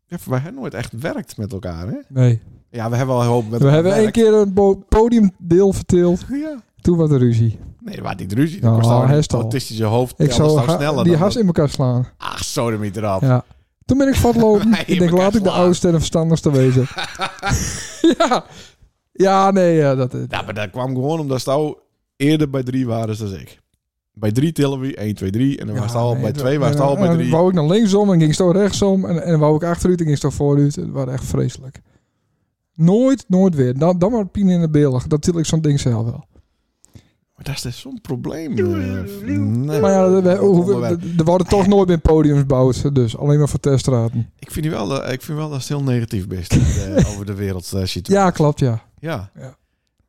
ja, wij hebben nooit echt werkt met elkaar, hè?
Nee.
Ja, we hebben wel een hoop met
We hebben één keer een bo- podiumdeel verteeld.
keer... Ja.
Toen was de ruzie.
Nee, waar die ruzie.
Nou,
Dat kost
hij
al
is
een
toch-
autistische hoofd.
Ik zou ha-
nou sneller
die
dan
haast
dat.
in elkaar slaan.
Ach, sodemiet eraf.
Ja. Toen ben ik vastlopen.
Wij
ik denk,
elkaar
laat ik de
slaan.
oudste en de verstandigste wezen. ja. Ja, nee, ja, dat is...
Ja, maar dat kwam gewoon omdat Stouw eerder bij drie waren dan ik. Bij drie tillen we 1, 2, 3. En dan
Ja,
was het al
nee,
bij
dat-
twee, was het
en-
al bij
en
drie.
wou ik naar linksom en ging zo rechtsom. En, en wou ik achteruit en ging zo vooruit. Het was echt vreselijk. Nooit, nooit weer. Dan, dan maar pijn in de billig. Dat til ik zo'n ding zelf wel.
Maar dat is dus zo'n probleem. eh, nee.
Maar ja, we- we- hoe- we-
Onderwerp.
er worden toch nooit meer podiums bouwd. Dus alleen maar voor teststraten.
Ik vind, die wel, dat- ik vind wel dat het heel negatief best eh, over de wereld eh, situatie.
Ja, klopt, ja.
Ja.
Ja.
Ja,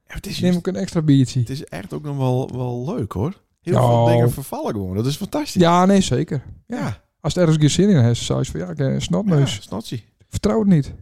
het, is
Neem
juist-
ook een extra biertje.
het is echt ook nog wel, wel leuk hoor. Heel veel
Nou.
dingen vervallen gewoon. Dat is fantastisch.
Ja, nee, zeker.
ja.
Als het ergens geen zin in heeft, zou je van ja, ik eh,
Ja,
snotneus.
snotsie.
Vertrouw het niet.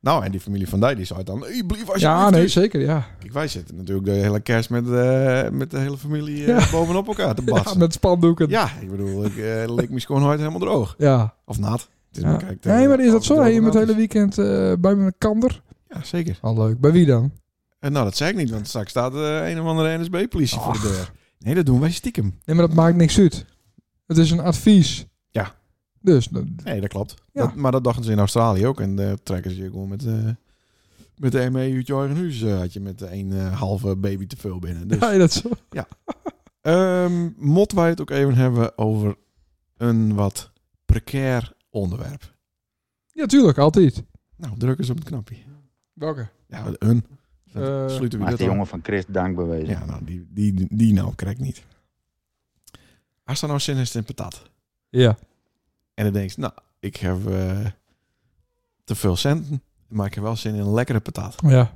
Nou, en die familie van Dijk die zei dan... Hey, blief alsjeblieft.
Ja, nee, zeker, ja.
Kijk, wij zitten natuurlijk de hele kerst met, eh, met de hele familie eh,
Ja.
bovenop elkaar te
ja
batsen. Ja,
met spandoeken.
ik bedoel, ik eh leek me schoonheid helemaal droog.
Ja.
Of nat. Het
Ja.
kijk, eh,
Nee, maar is dat
of het
zo?
droog
Je moet
nat
het hele
is.
weekend eh, bij mijn kander.
Ja, zeker.
Al leuk. Bij wie dan?
En nou, dat zei ik niet, want straks staat eh, een of andere NSB-politie voor de deur. Nee, dat doen wij stiekem.
Nee, maar dat maakt niks uit. Het is een advies.
Ja.
Dus, dat-
Nee, dat klopt.
Ja.
Dat, maar dat dachten ze in Australië ook. En eh trekken ze je gewoon met, eh, met de ME uit je eigen huis. eh, had je met een eh, halve baby te veel binnen. Dus
ga je dat zo?
Ehm mot wij het ook even hebben over een wat precair onderwerp.
Ja, tuurlijk, altijd.
Nou, druk eens op het knapje.
Welke?
Ja, een. Dat
Eh,
sluiten we
Maar is
dat
de
jongen.
jongen van Christ dankbewezen.
Ja, nou, die, die, die nou krijg ik niet. Als dan nou zin is in patat.
Ja.
En dan denk je, nou, ik heb eh, te veel centen, maar ik heb wel zin in een lekkere patat.
Ja.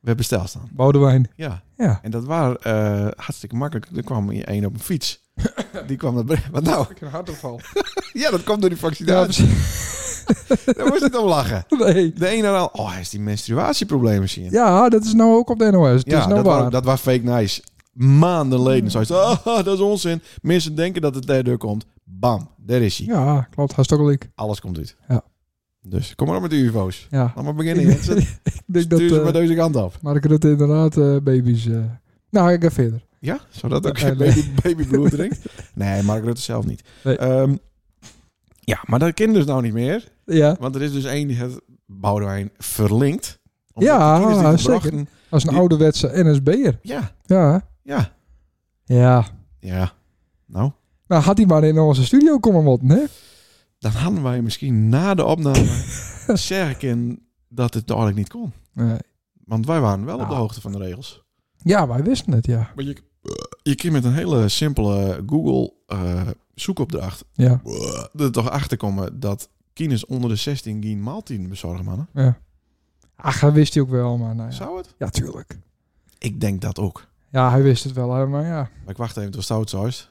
We hebben staan.
Boudewijn.
Ja.
Ja.
En dat waren eh, hartstikke makkelijk. Er kwam één op een fiets. Die kwam naar Bre- Wat nou?
Ik een hartaanval.
Ja, dat kwam door die
Ja,
vaccinatie.
precies.
Daar moest ik om lachen.
Nee.
De ene al, oh, hij is die menstruatieproblemen zien.
Ja, dat is nou ook op de NOS. Het is nou
dat,
waar.
was, dat was fake nice. Maanden geleden zei ze, ah, dat is onzin. Mensen denken dat het daardoor komt. Bam, daar is hij.
Ja, klopt. Hartstikke
Alles komt uit.
Ja.
Dus kom maar op met de UFO's.
Ja.
Laat maar beginnen.
Ik
Jensen.
denk dat
Stuur ze maar
eh
deze kant af.
Mark Rutte inderdaad eh, baby's... eh, Nou, ik ga verder.
Ja, zou dat ook
Nee,
een baby, babybloed drinkt? Nee, Mark Rutte zelf niet.
Nee.
Ehm, ja, maar dat kind dus nou niet meer.
Ja,
Want er is dus één die het Boudewijn verlinkt. Omdat
Ja,
de tieners die het
zeker.
brachten-
als een
Die-
ouderwetse NSB'er.
Ja,
Ja.
ja,
Ja.
ja. Nou,
Nou, had hij maar in onze studio komen moeten, hè?
dan hadden wij misschien na de opname zeggen dat het eigenlijk niet kon.
Nee.
Want wij waren wel op de
Nou.
hoogte van de regels.
Ja, wij wisten het, ja.
Maar je, je kunt met een hele simpele Google eh, zoekopdracht eh,
Ja.
er toch achter komen dat kines onder de 16 geen maaltien bezorgen, mannen.
Ach, hij wist hij ook wel, maar nou ja.
Zou het?
Ja, tuurlijk.
Ik denk dat ook.
Ja, hij wist het wel, hè, maar ja.
Maar ik wacht even tot stout saus.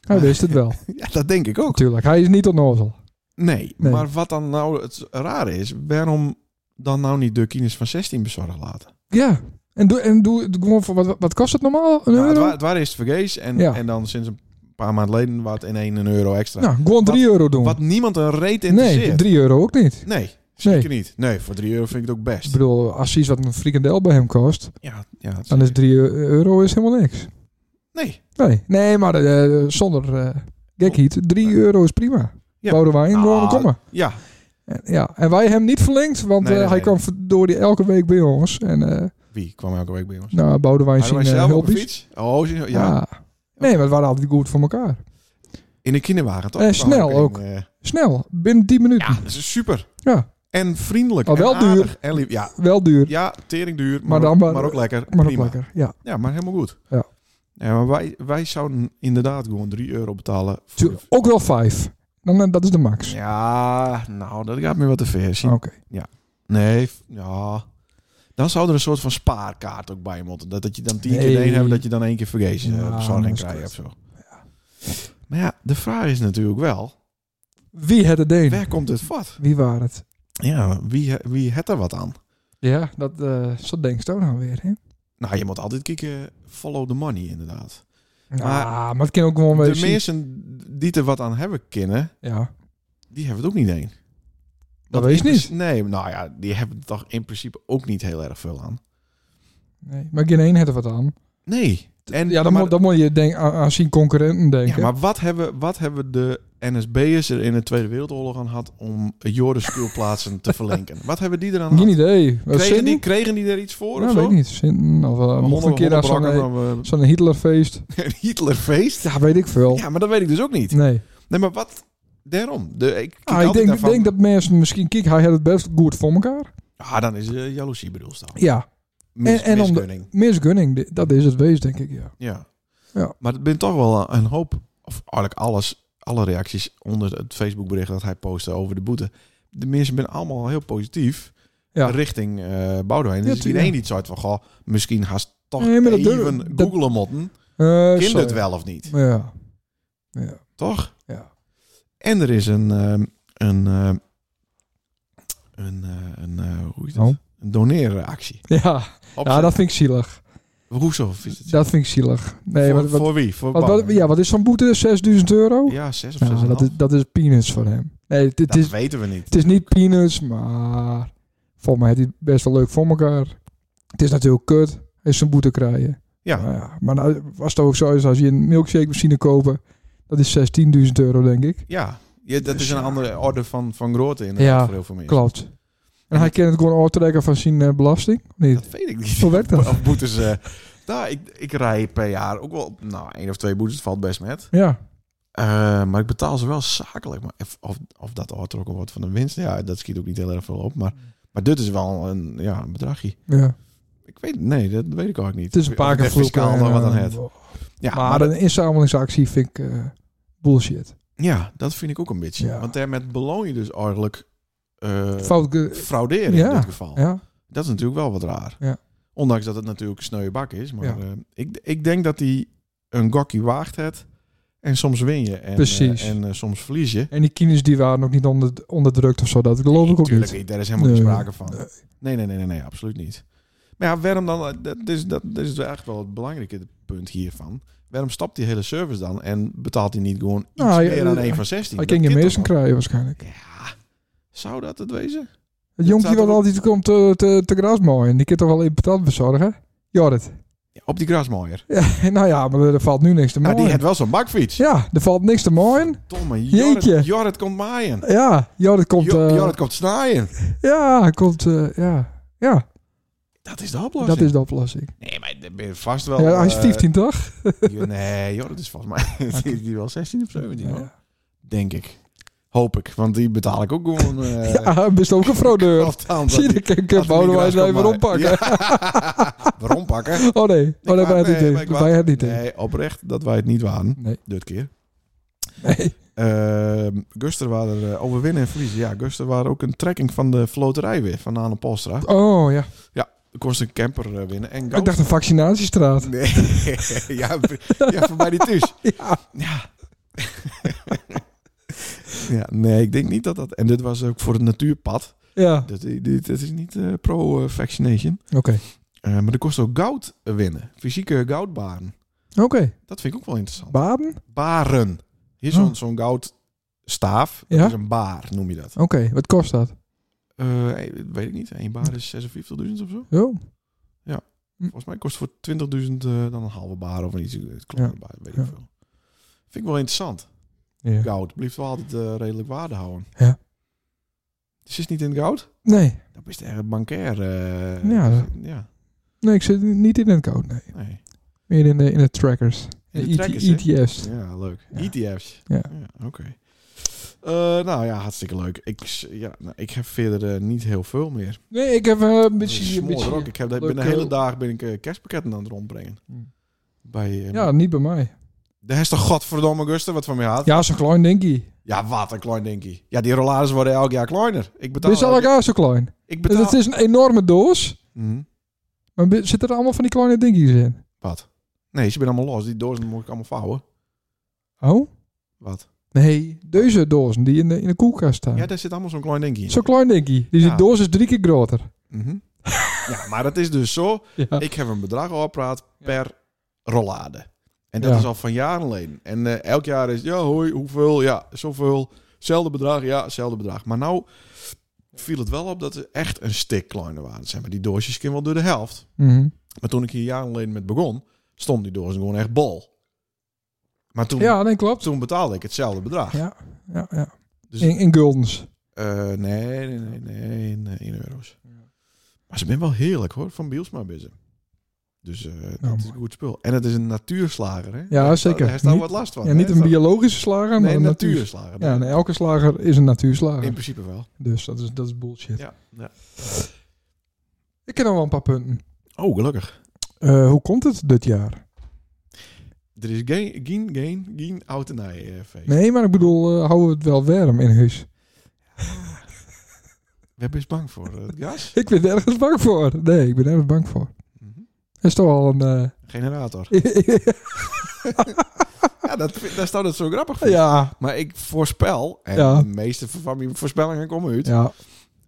Hij wist het wel.
Ja, dat denk ik ook.
Tuurlijk, hij is niet onnozel.
Nee,
Nee.
maar wat dan nou het raar is, waarom dan nou niet de kines van 16 bezorgen laten?
Ja. En doe, en doe doe gewoon voor, wat, wat kost het normaal? Een
Nou, het,
euro?
wa het waren eerst vergees en,
Ja.
en dan sinds een paar maanden geleden wat in één een euro extra.
nou, gewoon 3 euro doen.
Wat niemand een reet
nee,
interesseert.
3 euro ook niet.
nee, zeker niet. Nee, voor 3 euro vind ik het ook
Ik
best.
bedoel, als je iets wat een frikandel bij hem kost,
Ja, ja,
dan is 3 euro is helemaal niks.
Nee.
Nee, nee maar eh, zonder eh gekheid, 3 euro is prima.
Oh. Ja.
Bouden wij in, gewoon
Ah.
komen.
Ja,
En, ja. en wij hem niet verlengd, want
Nee,
eh,
nee,
hij
nee.
kwam door die elke week bij ons. En eh
wie kwam elke week bij ons?
nou, Boudewijn
Hadden
zien
wij
eh,
zelf op een
hulpjes.
fiets?
Ah.
Oh, zien- ja.
Nee, maar het waren altijd goed voor elkaar.
In de kinderwagen toch?
Eh, snel
Oh,
ook.
in, eh,
Snel, binnen 10 minuten.
ja, dat is super.
Ja.
En vriendelijk.
Maar wel
en aardig En lief. Ja,
Wel duur,
ja, tering duur, maar,
Maar dan
ook,
maar-
maar ook lekker.
maar ook
Prima.
lekker. Ja,
Ja, maar helemaal goed.
Ja.
Ja, maar wij, wij zouden inderdaad gewoon 3 euro betalen. Voor
Tuur- ook wel 5. Dan, eh, dat is de max. Ah,
Ja, nou, dat gaat me wat te ver. zien.
Oké.
Nee, f- ja. Dan zou er een soort van spaarkaart ook bij moeten. Dat, dat je dan tien
Nee.
keer de een hebt, dat je dan één keer vergeet.
Ja,
eh
dat
bezorging
is
krijgen
kut.
of zo. Maar ja, de vraag is natuurlijk wel,
Wie het het deed?
waar komt het vat?
Wie waren het?
Ja, wie, wie het er wat aan?
Ja, dat, eh zo denkt ook nou weer. Hè?
Nou, je moet altijd kijken, follow the money inderdaad. Maar-
Maar, Ah, maar het kan ook gewoon
de
weer.
mensen die er wat aan hebben kennen,
Ja,
die hebben het ook niet één.
dat
Want
weet
in
niet.
principe- Nee, nou ja, die hebben er toch in principe ook niet heel erg veel aan.
Nee, maar geen één heeft er wat aan.
Nee. En,
Ja, dan,
maar-
moet, dan moet je denk, aan, aan zien concurrenten denken.
Ja, maar wat hebben, wat hebben de NSB'ers er in de Tweede Wereldoorlog aan gehad om Joris speelplaatsen te verlenken? Wat hebben die er aan
geen
gehad?
idee. Wat
Kregen
zin?
die, kregen die er iets voor
Nou,
of
weet
zo?
ik niet. Zin of eh,
Honden-
mocht een keer naar zo'n,
hondenbrakken
eh,
van, eh,
zo'n Hitlerfeest.
een Hitlerfeest?
Ja, weet ik veel.
Ja, maar dat weet ik dus ook niet.
Nee.
Nee, maar wat? Daarom. De, ik kijk
Ah, ik
altijd
denk,
daarvan-
denk dat mensen misschien kijk, hij had het best goed voor elkaar.
Ah, dan is eh, jaloezie bedoeld dan.
Ja,
Mis,
en om de-
misgunning.
misgunning, di- dat is het wees, denk ik. Ja.
Ja.
Ja.
Maar het bent toch wel een hoop, of eigenlijk alles, alle reacties onder het Facebookbericht dat hij postte over de boete. De mensen zijn allemaal heel positief
Ja.
richting eh Boudewijn. Dus
Ja,
is
tuurlijk.
iedereen niet soort van, goh, misschien haast toch
Nee, maar dat
even
durf- dat-
googelen motten.
Eh,
Kind
zo,
het
ja.
wel of niet,
Ja. Ja.
toch?
Ja.
En er is een, ehm, een, ehm, een, eh, een eh, hoe heet dat?
Oh.
Een doneeractie.
Ja.
Op
ja, dat vind ik zielig.
Hoezo is het?
Dat vind ik zielig. Nee,
voor,
wat, wat,
voor wie? Voor
wat, wat-
Boudewijn?
ja, wat is zo'n boete? 6000 euro?
Ja, zes of
Ja,
zes. en
dat,
een
is, dat is peanuts voor hem. Nee, het, het
Dat
is,
weten we niet.
het is niet peanuts, maar volgens mij heeft hij het best wel leuk voor elkaar. Het is natuurlijk kut, is zo'n boete krijgen.
Ja.
Maar, ja, maar nou, was het ook zo is als je een milkshake machine kopen, dat is 16.000 euro denk ik.
Ja, ja dat
Dus
is een
ja.
andere orde van, van grootte inderdaad
Ja,
voor heel veel mensen.
Klopt. En hij kan het gewoon overtrekken van zijn eh, belasting? Of Niet.
Dat weet ik niet.
Hoe werkt dat?
Of boetes... eh, nou, ik, ik rij per jaar ook wel... Nou, één of twee boetes valt best met.
Ja.
Eh, maar ik betaal ze wel zakelijk. Maar of, of, of dat overtrokken wordt van de winst, ja, dat schiet ook niet heel erg veel op. Maar, maar dit is wel een, ja, een bedragje.
ja.
Ik weet nee, dat weet ik ook niet.
Het is een paar keer vloeken.
fiscaal
en,
dan wat aan
eh,
het. Ja,
maar
maar dat-
een inzamelingsactie vind ik eh, bullshit.
ja, dat vind ik ook een beetje.
Ja.
Want daarmee beloon je dus eigenlijk eh,
Fout ge-
frauderen
Ja,
in dit geval.
ja.
Dat is natuurlijk wel wat raar.
Ja.
Ondanks dat het natuurlijk een sneuwe bak is. Maar
Ja.
eh, ik, ik denk dat hij een gokkie waagt het. En soms win je. En, eh,
Precies.
en eh, soms verlies je.
En die kines die waren ook niet onder, onderdrukt of zo. Dat geloof ik ook
Tuurlijk
niet.
niet, daar is helemaal geen
Nee.
sprake van. Nee, nee, nee, nee, nee, absoluut niet. Maar ja, waarom dan? eh, Dat is, dat, dat is dus eigenlijk wel het belangrijke punt hiervan. Waarom stapt die hele service dan en betaalt hij niet gewoon iets
Nou, ja,
meer dan
eh,
1 van 16?
Hij
Dat
ging je
kan
meesten
toch wel?
krijgen waarschijnlijk.
Ja, zou dat het wezen? staat
Het jonkie
er
wat
ook-
altijd komt te, te, te grasmaaien. Die kan toch wel even patat bezorgen? Jorrit.
Ja, op die grasmaaier.
Ja, nou ja, maar er valt nu niks te
Nou,
maaien.
die had wel zo'n bakfiets.
Ja, er valt niks te maaien.
Tomme,
Jeetje.
Jorrit, Jorrit komt maaien.
Ja, Jorrit komt...
Jo-
eh,
Jorrit komt snaaien.
Ja, hij komt... eh, ja. Ja,
Dat is de oplossing.
dat is de oplossing.
Nee, maar dat ben je vast wel...
Ja, hij is
eh,
15, toch?
jo- nee, Jorrit is volgens mij die is die wel 16 of 17, hoor.
Ja,
denk ik. Hoop ik, want die betaal ik ook gewoon... eh,
hij best ook een fraudeur.
afstand.
Zie je, ik heb Boudewijn wij weer oppakken.
Waarom pakken?
Oh nee, oh, nee, wij het niet in. Wij het niet in.
Nee, oprecht dat wij het niet waren.
Nee.
Dit keer.
Nee.
Ehm, Guster waren er eh, overwinnen en verliezen. Ja, Guster waren ook een trekking van de floterij weer. Van Anne Polstra.
Oh ja,
Kost een camper eh, winnen. En
ik dacht een vaccinatiestraat.
Nee. ja, ja, voor mij niet dus.
Ja.
Ja. ja. Nee, ik denk niet dat dat... En dit was ook voor het natuurpad.
Ja,
Dat, dit, dit is niet eh, pro-vaccination.
oké.
Eh, maar er kost ook goud winnen. Fysieke goudbaan.
Oké,
Dat vind ik ook wel interessant.
Baden? Oké,
Baren. Hier is zo'n
Huh.
zo'n goudstaaf. Dat
Ja?
is een baar, noem je dat.
wat kost dat?
Eh, eh, weet ik niet. Eén baar is 56.000 of zo.
Oh,
Volgens mij kost het voor 20.000 eh, dan een halve baar of een iets. eh, kleinere baar, weet
Ja.
ik veel. Vind ik wel interessant.
ja.
Goud. Blijft wel altijd eh, redelijk waarde houden.
Ja.
Dus is niet in het goud?
Nee,
Dat is echt bankair. eh,
Ja, dat-
ja.
nee, ik zit niet in het code, nee.
Nee.
Meer in de, in de trackers. E
In de
ET-
trackers, hè?
ETF's.
Ja, leuk. E
Ja.
ETF's.
Ja.
Oké. Eh, nou ja, hartstikke leuk. Ik, s- ja, nou, ik heb verder eh, niet heel veel meer.
Nee, ik heb eh, een
Ik
beetje... Een
smoor er ook.
beetje
Ik heb de,
leuk,
ben de hele
eh,
dag ben ik eh, kerstpakketten aan het rondbrengen.
Hmm.
Bij, eh,
ja, niet bij mij.
Daar is toch godverdomme Guster wat van mij had? Ja.
Ja, zo klein dinkie.
wat een klein dinkie. Ja, die rollades worden elk jaar kleiner. Ik betaal...
Dit is
elk-
elkaar zo klein.
Ik
Dus
betaal...
het is een enorme doos.
Mhm.
Maar bi- zitten er allemaal van die kleine dinkies in?
Wat? Nee, ze zijn allemaal los. Die dozen moet ik allemaal vouwen.
Oh?
Wat?
Nee, deze dozen die in de, in de koelkast staan.
Ja, daar zit allemaal zo'n klein dinkie in.
Zo klein dinkie. Dus
Ja.
die doos is drie keer groter.
Mhm. ja, maar dat is dus zo.
Ja.
Ik heb een bedrag opgepraat per rollade. En dat
Ja.
is al van jaren alleen. En eh, elk jaar is, ja hoi, hoeveel? Ja, zoveel. Zelfde bedrag, ja, hetzelfde bedrag. Maar nou viel het wel op dat ze echt een stik kleiner waren. Zeg maar, die doosjes kunnen wel door de helft.
Mhm.
Maar toen ik hier jaren alleen met begon, stond die doos gewoon echt bol. Maar toen,
Ja, nee, klopt.
toen betaalde ik hetzelfde bedrag.
Ja, ja, ja.
Dus-
in, in guldens.
Eh, nee, nee, nee, nee, nee, in euro's. Maar ze zijn wel heerlijk hoor, van Bielsma bezig. Dus eh dat is
mooi.
een goed spul. En het is een natuurslager, hè?
Ja,
Daar-
zeker.
Daar is daar
Niet-
wat last van.
Ja,
hè?
niet een
Dat-
biologische slager, maar
Nee,
een
een
natuur.
natuurslager.
Ja, nee, elke slager is een
In
natuurslager.
principe wel.
Dus dat is, dat is bullshit.
Ja, ja.
Ik ken nog wel een paar punten.
Oh, gelukkig.
Eh, hoe komt het dit jaar?
Er is geen, geen, geen, geen oudenij feest.
Nee, maar ik bedoel, eh, houden we het wel warm in huis?
We hebben eens bang voor eh, het gas.
Ik ben ergens bang voor. Nee, ik ben ergens bang voor.
Mhm.
Dat is toch al een... eh,
Generator. Ja, dat, vind- daar staat het zo grappig voor.
ja.
Maar ik voorspel, en
Ja.
de meeste van mijn voorspellingen komen uit,
ja,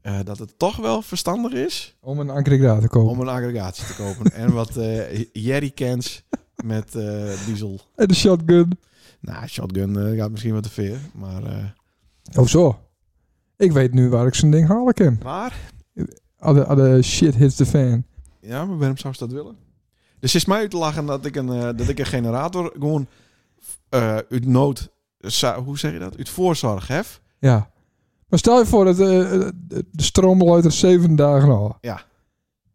eh, dat het toch wel verstandig is
om een ankerigraad te kopen.
om een aggregaatje te kopen. en wat eh jerrycans met eh, diesel.
En de shotgun.
Nou, shotgun eh, gaat misschien wat te ver. Maar, eh,
Oh zo. Ik weet nu waar ik zo'n ding halen kan.
maar,
Alle, alle shit hits the fan.
ja, maar waarom zou ze dat willen? Dus ze is mij uit te lachen dat ik een, eh, dat ik een generator gewoon eh, uit nood, za- hoe zeg je dat? Uit voorzorg heb.
Ja. Maar stel je voor dat eh, eh, de stroom al uit er zeven dagen al.
Ja.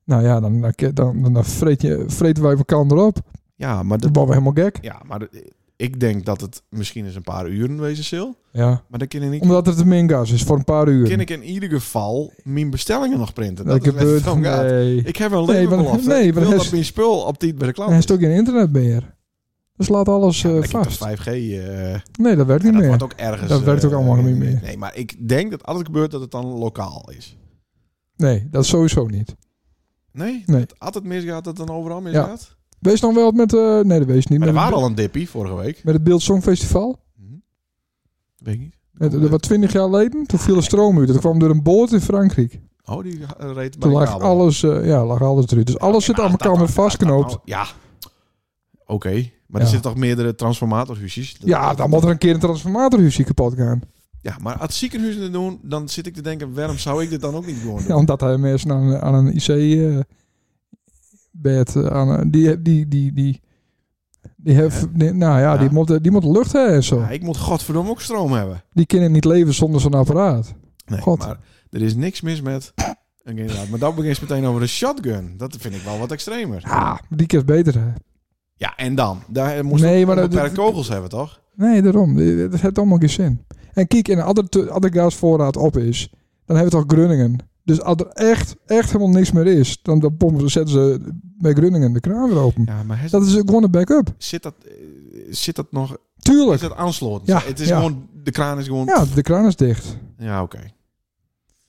Nou ja, dan, dan, dan, dan vreet je, vreten wij elkaar erop.
Ja, maar
Dan
dat,
worden we helemaal gek.
ja, maar dat- eh, Ik denk dat het misschien eens een paar uren wezen zal.
Ja.
Maar dan kan ik,
Omdat het een mingas is voor een paar uur.
kan ik in ieder geval mijn bestellingen nog printen. Dat,
dat
is waar het
gebeurt.
om gaat.
Nee.
Ik heb een
Nee, maar-
levenbelofte.
nee, maar
ik wil
dat
dat
is-
mijn spul op tijd bij de klant
En een
is.
stukje internet meer. Dus laat alles
Ja,
eh,
maar ik heb toch
vast.
5G. eh,
Nee, dat werkt
en dat
niet meer.
wordt ook ergens.
Dat werkt ook
eh,
allemaal niet
nee,
meer.
Nee, maar ik denk dat als het gebeurt, dat het dan lokaal is.
Nee, dat sowieso niet.
Nee?
Nee.
Dat altijd misgaat, dat het dan overal misgaat?
Wees dan wel wat met... eh, nee, dat wees niet.
Maar
Met,
er
het-
waren al een dippie vorige week.
met het Beeld Songfestival.
Weet ik niet.
Het, dat was twintig jaar geleden. Toen viel een stroomuur. Dat kwam door een boot in Frankrijk.
Oh, die eh, reed bij
Toen
de
lag
kabel.
alles, eh, ja, lag alles eruit. Dus alles zit aan elkaar met vastknoopt.
Ja. Oké. Maar
Ja.
er zitten toch meerdere transformatorhuisjes? Dat-
Ja, dan moet er een keer een transformatorhuisje kapot gaan.
Ja, maar als ziekenhuizen dit doen, dan zit ik te denken, waarom zou ik dit dan ook niet gewoon doen?
Ja, omdat hij mensen aan, aan een IC-bed... eh, aan een- die, die, die, die, die hef, die- nou ja,
Ja.
Die, moet, die moet lucht hebben en zo.
Ja, ik moet godverdomme ook stroom hebben.
Die kunnen niet leven zonder zo'n apparaat.
Nee,
God.
maar er is niks mis met... een generator. Maar dat begint meteen over een shotgun. Dat vind ik wel wat extremer.
Ja, die kan het beter hebben.
Ja, en dan? Daar moest
Nee,
nee,
maar
maar
dat-
kogels hebben, toch?
Nee, daarom. Dat heeft allemaal geen zin. En kijk, en als de gasvoorraad op is, dan hebben we toch Grunningen. Dus als er echt, echt helemaal niks meer is, dan, dan pompen, ze- zetten ze bij Grunningen de kraan weer open.
Ja, maar
Dat is gewoon een backup.
zit, dat, eh, zit dat nog... Is
Tuurlijk.
dat aansloten?
Ja,
het is
ja.
gewoon... De kraan is gewoon...
Ja, de kraan is dicht.
Ja, oké.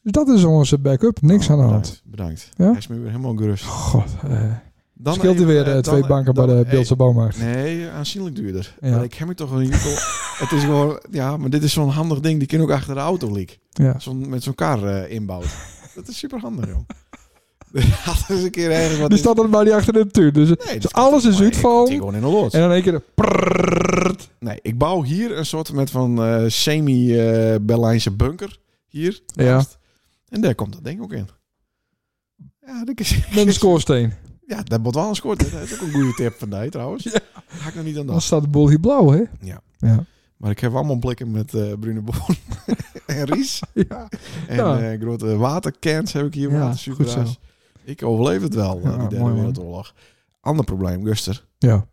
Dus dat is onze backup. Niks
Oh,
aan de hand.
Bedankt. bedankt.
Ja?
Hij is me weer helemaal gerust.
God, eh
Dan
scheelt er
even,
weer
eh,
eh,
dan-
twee banken bij
dan-
de
eh,
Beeldse Bouwmarkt.
Nee, aanzienlijk duurder.
Ja.
Maar ik heb me toch een jukkel. het is gewoon, ja, maar dit is zo'n handig ding. Die kun je ook achter de auto liek.
Ja.
Zo'n, met zo'n kar eh, inbouwd. Dat is super handig, joh. Had eens een keer ergens wat.
Die
in-
staat er maar niet achter de tuin. Dus,
Nee,
dus
dat kan
alles
toch,
is
maar ik- dat zie
uitval.
ik gewoon in een loods.
En dan in één keer...
Nee, ik bouw hier een soort met van eh, semi-Berlijnse bunker. Hier.
Ja.
naast. En daar komt dat ding ook in. Ja, dat is,
Met een schoorsteen.
ja, dat wordt wel een scoort. Dat is ook een goede tip van mij trouwens. Ga ik nog niet aan
Dan
dat.
staat de boel hier blauw, hè?
Maar ik heb allemaal blikken met eh bruine boon en ries.
Ja.
En
Ja.
eh, grote watercans heb ik hier,
Ja,
watersucra's.
goed
Ik overleef het wel, eh,
Ja,
die derde
mooi, man.
wereldoorlog. Ander probleem, Guster.
Ja.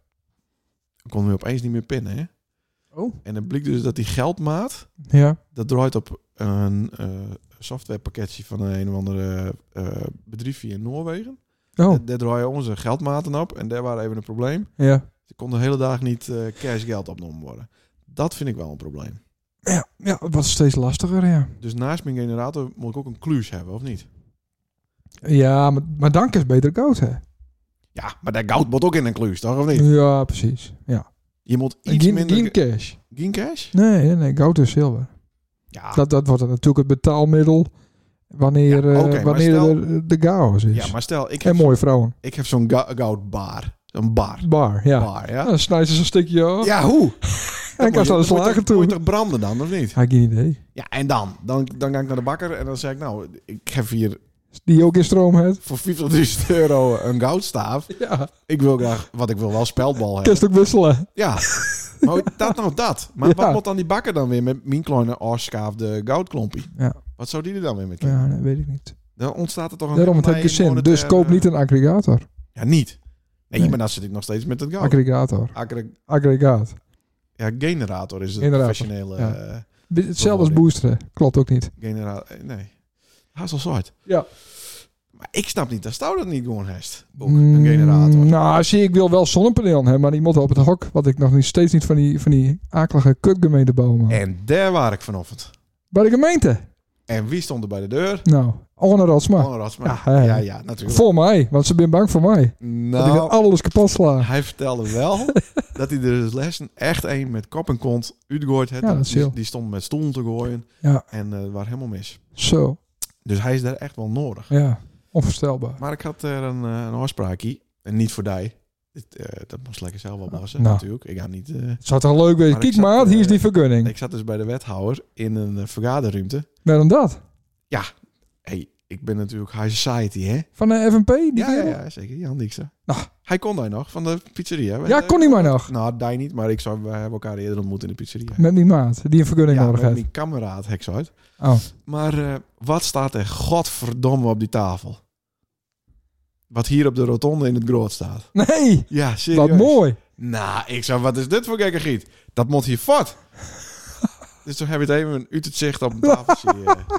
Ik kon nu opeens niet meer pinnen, hè?
Oh.
En het bleek dus dat die geldmaat,
Ja.
dat draait op een eh, softwarepakketje van een of andere eh, bedrijfje in Noorwegen.
Oh,
Daar, daar draaien onze geldmaten op en daar waren even een probleem.
ja.
Ze kon de hele dag niet eh, cash geld opgenomen worden. Dat vind ik wel een probleem.
Ja, ja, het wordt steeds lastiger, ja.
Dus naast mijn generator moet ik ook een kluus hebben, of niet?
Ja, maar, maar dank is beter koud, hè?
Ja, maar dat goud moet ook in een kluus, toch? Of niet?
Ja, precies. Ja.
Je moet
Geen,
iets minder...
geen cash.
Geen cash?
Nee, nee, nee, goud is zilver.
Ja.
Dat, dat wordt natuurlijk het betaalmiddel wanneer,
Ah. Ja,
eh,
oké, maar
wanneer
stel-
er de chaos is.
ja, maar stel, ik
En
heb,
mooie vrouwen.
ik heb zo'n ga- goud bar. Een bar.
Bar, ja.
Bar,
Ja,
ja?
dan snijden ze zo'n stukje af.
Ja, hoe?
en kan ze aan de slager
Moet
toe.
je toch branden dan, of niet?
Had ik geen idee.
Ja, en dan? Dan, dan ga ik naar de bakker en dan zeg ik, nou, ik heb hier
Die ook in stroom heeft.
voor 40.000 euro een goudstaaf.
Ja,
Ik wil graag, wat ik wil wel, speldbal hebben.
kan ze ook wisselen.
Ja. Maar dat nou dat. Maar
Ja.
wat moet dan die bakker dan weer met mijn kleine oorskaafde goudklompie?
Ja.
Wat zou die er dan weer mee kunnen?
Ja, nee, weet ik niet.
Dan ontstaat er toch een...
Daarom, het heeft
nee,
geen zin. Dus
monetaire-
koop niet een aggregator.
Ja, niet. Nee,
Nee.
maar dan zit ik nog steeds met het goud.
Aggregator.
Accre-
Aggregaat.
Ja, generator is het
Generator,
professionele
ja.
eh,
Hetzelfde als boosteren. Klopt ook niet.
genera eh, Nee. Haast al zwart.
Ja.
Maar ik snap niet, dat zou dat niet gewoon hest. Ook een generator.
Mm, nou, zie, ik wil wel zonnepanelen hebben, maar die moet op het hok. Wat ik nog niet, steeds niet van die, van die akelige kutgemeente bouwen. mag.
En daar waar ik vanochtend.
Bij de gemeente?
En wie stond er bij de deur?
Nou, Anne Rotsma.
Conrad Ratsma.
Ja, hè.
Ja, ja, Oh, natuurlijk.
Voor mij, want ze zijn bang voor mij. Dat ik ah. dat
nou,
alles kapot sla.
hij vertelde wel dat hij de lessen echt een met kop en kont uitgooid had.
Ja, dat is heel.
die, die stond met stoelen te gooien.
Ja.
En eh waar helemaal mis.
Zo,
Dus hij is daar echt wel nodig.
ja. Onvoorstelbaar.
Maar ik had er een, eh, een afspraakje. En niet voor die. Dit, eh, dat moest lekker zelf oplossen,
Nou.
natuurlijk. Ik ga niet... eh,
Het zou toch leuk wezen.
Maar ik
Kijk
zat,
maat,
eh,
hier is die vergunning.
Ik zat dus bij de wethouder in een eh, vergaderruimte.
Net dan dat.
hey, ik ben natuurlijk high society, hè?
Van eh, de FNP? Die
Ja, ja,
kerel?
ja, zeker. Jan Dijkstra.
Ah.
Hij kon daar nog, van de pizzeria.
Ja, kon hij maar nog.
Nou, daar niet, maar ik zou, we hebben elkaar eerder ontmoet in de pizzeria.
Met die maat, die een vergunning
ja,
nodig
met
heeft.
mijn kameraad, heks uit.
Oh,
Maar eh, wat staat er godverdomme op die tafel? Wat hier op de rotonde in het groot staat.
nee.
Ja, serieus.
Wat mooi.
Nou, ik zei, wat is dit voor gekkergiet? Dat moet hier vat. dus toen heb je het even een uit het zicht op een tafeltje. eh.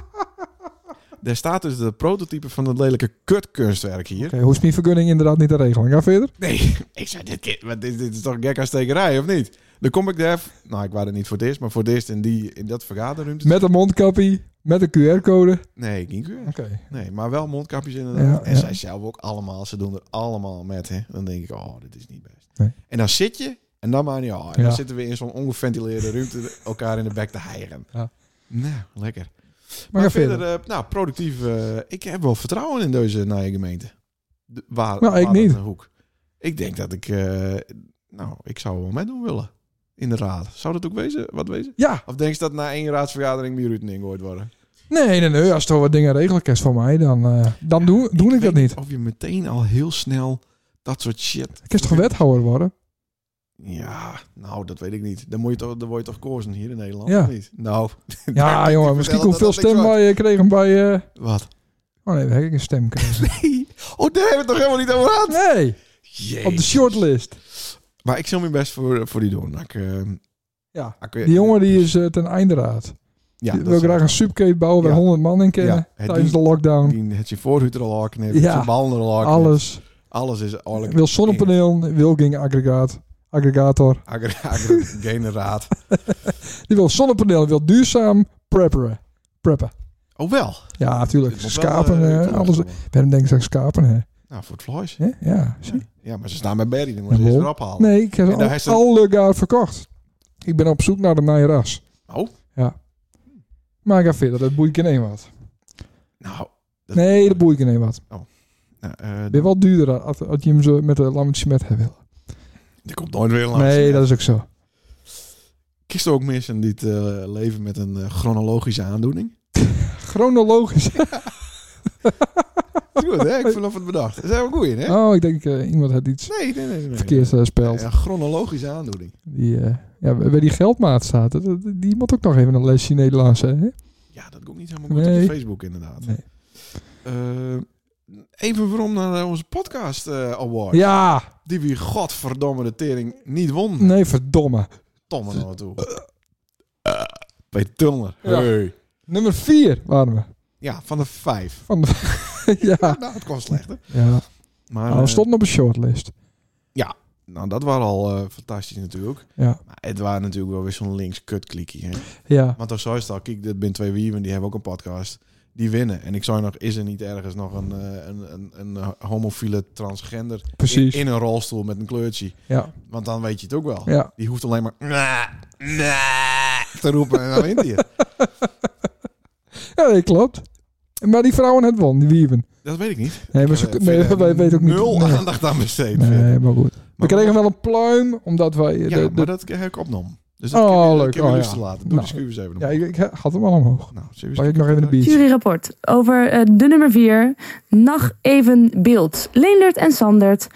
Daar staat dus de prototype van dat lelijke kutkunstwerk hier.
Oké, hoeft mijn vergunning inderdaad niet te regelen. Ga verder.
Nee, ik zei, dit, kind- wat is- dit is toch gek stekerij, of niet? Dan kom ik daar, nou, ik was er niet voor het eerst, maar voor het eerst in, die, in dat vergaderruimte.
Met een mondkapje, met een QR-code.
Nee, geen keur.
Oké.
Nee, maar wel mondkapjes inderdaad.
Ja,
en
ja.
zij zelf ook allemaal. Ze doen er allemaal met, hè. Dan denk ik, oh, dit is niet best.
Nee.
En dan zit je, en dan maar niet, oh, en
Ja.
dan zitten we in zo'n ongeventileerde ruimte elkaar in de bek te hijgen.
Ja.
Nou, lekker.
Maar
Maar,
ga
verder,
verder.
eh, nou, productief. eh, ik heb wel vertrouwen in deze nieuwe gemeente. De, waar,
Nou, ik
waar dat
niet.
een Hoek. Ik denk dat ik, eh, nou, ik zou wel meedoen willen. In de raad. Zou dat ook wezen? Wat wezen?
Ja,
Of denk je dat na één raadsvergadering Mierutening hoort worden?
nee, nee, nee. Als er wat dingen regelen kerst van mij, dan, eh, dan doe, doe ik
weet
dat niet.
Of je meteen al heel snel dat soort shit.
Ik is toch wethouder worden?
Ja, nou, dat weet ik niet. Dan, moet je toch, dan word je toch kozen hier in Nederland,
Ja.
of niet? Nou,
Ja, jongen. Misschien komt veel stem bij je kregen bij... eh,
Wat?
Oh nee, daar heb ik een stem gekregen.
Oh, daar hebben we het toch helemaal niet over gehad?
Nee, op de
Jezus.
shortlist.
Maar ik zal mijn best voor, voor die doen. Ik, eh,
Ja,
ik-
Die jongen die is eh, ten einde raad.
Ja,
die
dat
wil
is-
graag een subcade bouwen waar
Ja.
100 man in kennen
Ja, het
tijdens
die-
de lockdown.
Die het je voorhuid er al aanknipt,
Ja.
zijn ballen er al aanknipt.
Alles.
Alles is eigenlijk...
Wil zonnepaneel, wil ging aggregaat, aggregator.
Agri- agri- Generaat.
Die wil zonnepaneel, wil duurzaam prepperen. Preppen.
Oh, wel.
Ja, natuurlijk.
Dit moet wel,
Schapen,
eh,
eh,
toegevoegd
alles.
worden.
Waarom denk ik dat ik schapen heb?
Nou, voor het vlees.
Hè? Ja, zie.
Ja, maar ze staan bij Berry. Dan moet je
Ja,
ze
bol.
erop halen.
Nee, ik heb
En daar
al,
is er-
alle gaar verkocht. Ik ben op zoek naar de nieuwe ras.
Oh.
Ja. Maar ik ga verder, dat boeit geen één wat.
Nou, dat-
Nee, dat boeit geen één wat.
Nou, eh,
Weer wel duurder als, als je hem zo met de lammetje met hebt wil.
er komt nooit weer een laatste.
Nee, dat is ook zo.
Kist er ook mensen die het eh, leven met een eh, chronologische aandoening?
Chronologisch.
Goed, hè? Ik vanaf het bedacht. Dat is wel goed, hè?
Oh, ik denk eh, iemand had iets
Nee, nee, nee. nee, nee.
verkeerd eh, speld.
Ja, chronologische aandoening.
Die, eh, ja, waar die geldmaat staat, dat- dat- die moet ook nog even een lesje Nederlands. Hè?
Oh, Ja, dat komt niet helemaal goed
Nee.
op de Facebook, inderdaad.
Nee.
Eh, even waarom naar eh, onze podcast eh, award.
Ja,
Die we godverdomme de tering niet won.
nee, verdomme.
Tomme nou toe. Bij Tulner.
Ja.
Hey.
Nummer 4 waren we.
Ja, van de vijf.
Van de, ja,
Nou, het kwam slechter.
ja.
Maar,
Nou, we
eh,
stonden op een shortlist.
nou, dat waren al eh, fantastisch natuurlijk.
Ja.
Maar het waren natuurlijk wel weer zo'n links kut klikkie, hè.
Ja,
Want dan zou je het al, kijk, dit zijn twee wieven, die hebben ook een podcast. Die winnen. En ik zou nog, is er niet ergens nog een, eh, een, een, een homofiele transgender in,
precies.
in een rolstoel met een kleurtje?
Ja,
Want dan weet je het ook wel.
ja.
Die hoeft alleen maar "Nah, nah," te roepen en dan wint hij het.
ja nee, klopt. Maar die vrouwen het won, die wieven.
Dat weet ik niet.
Nee, maar
Ik
ze,
heb, eh,
nee,
verder
wij weten ook niet.
Nul
nee.
aandacht aan besteed. verder.
nee, maar goed. We
Maar-
kregen wel een pluim, omdat wij...
Ja,
de,
maar
de,
dat heb ik opgenomen. Dus
Oh,
dat kan
leuk.
ik heb
Oh,
oh,
ja.
te laten. Doe
Nou,
die schuivers even
ja,
omhoog.
ik, ik had hem al omhoog.
Nou, zullen we
Pak
eens-
ik nog even de biertje.
Juryrapport over eh, de nummer 4. Nacht even beeld. Leendert en Sandert.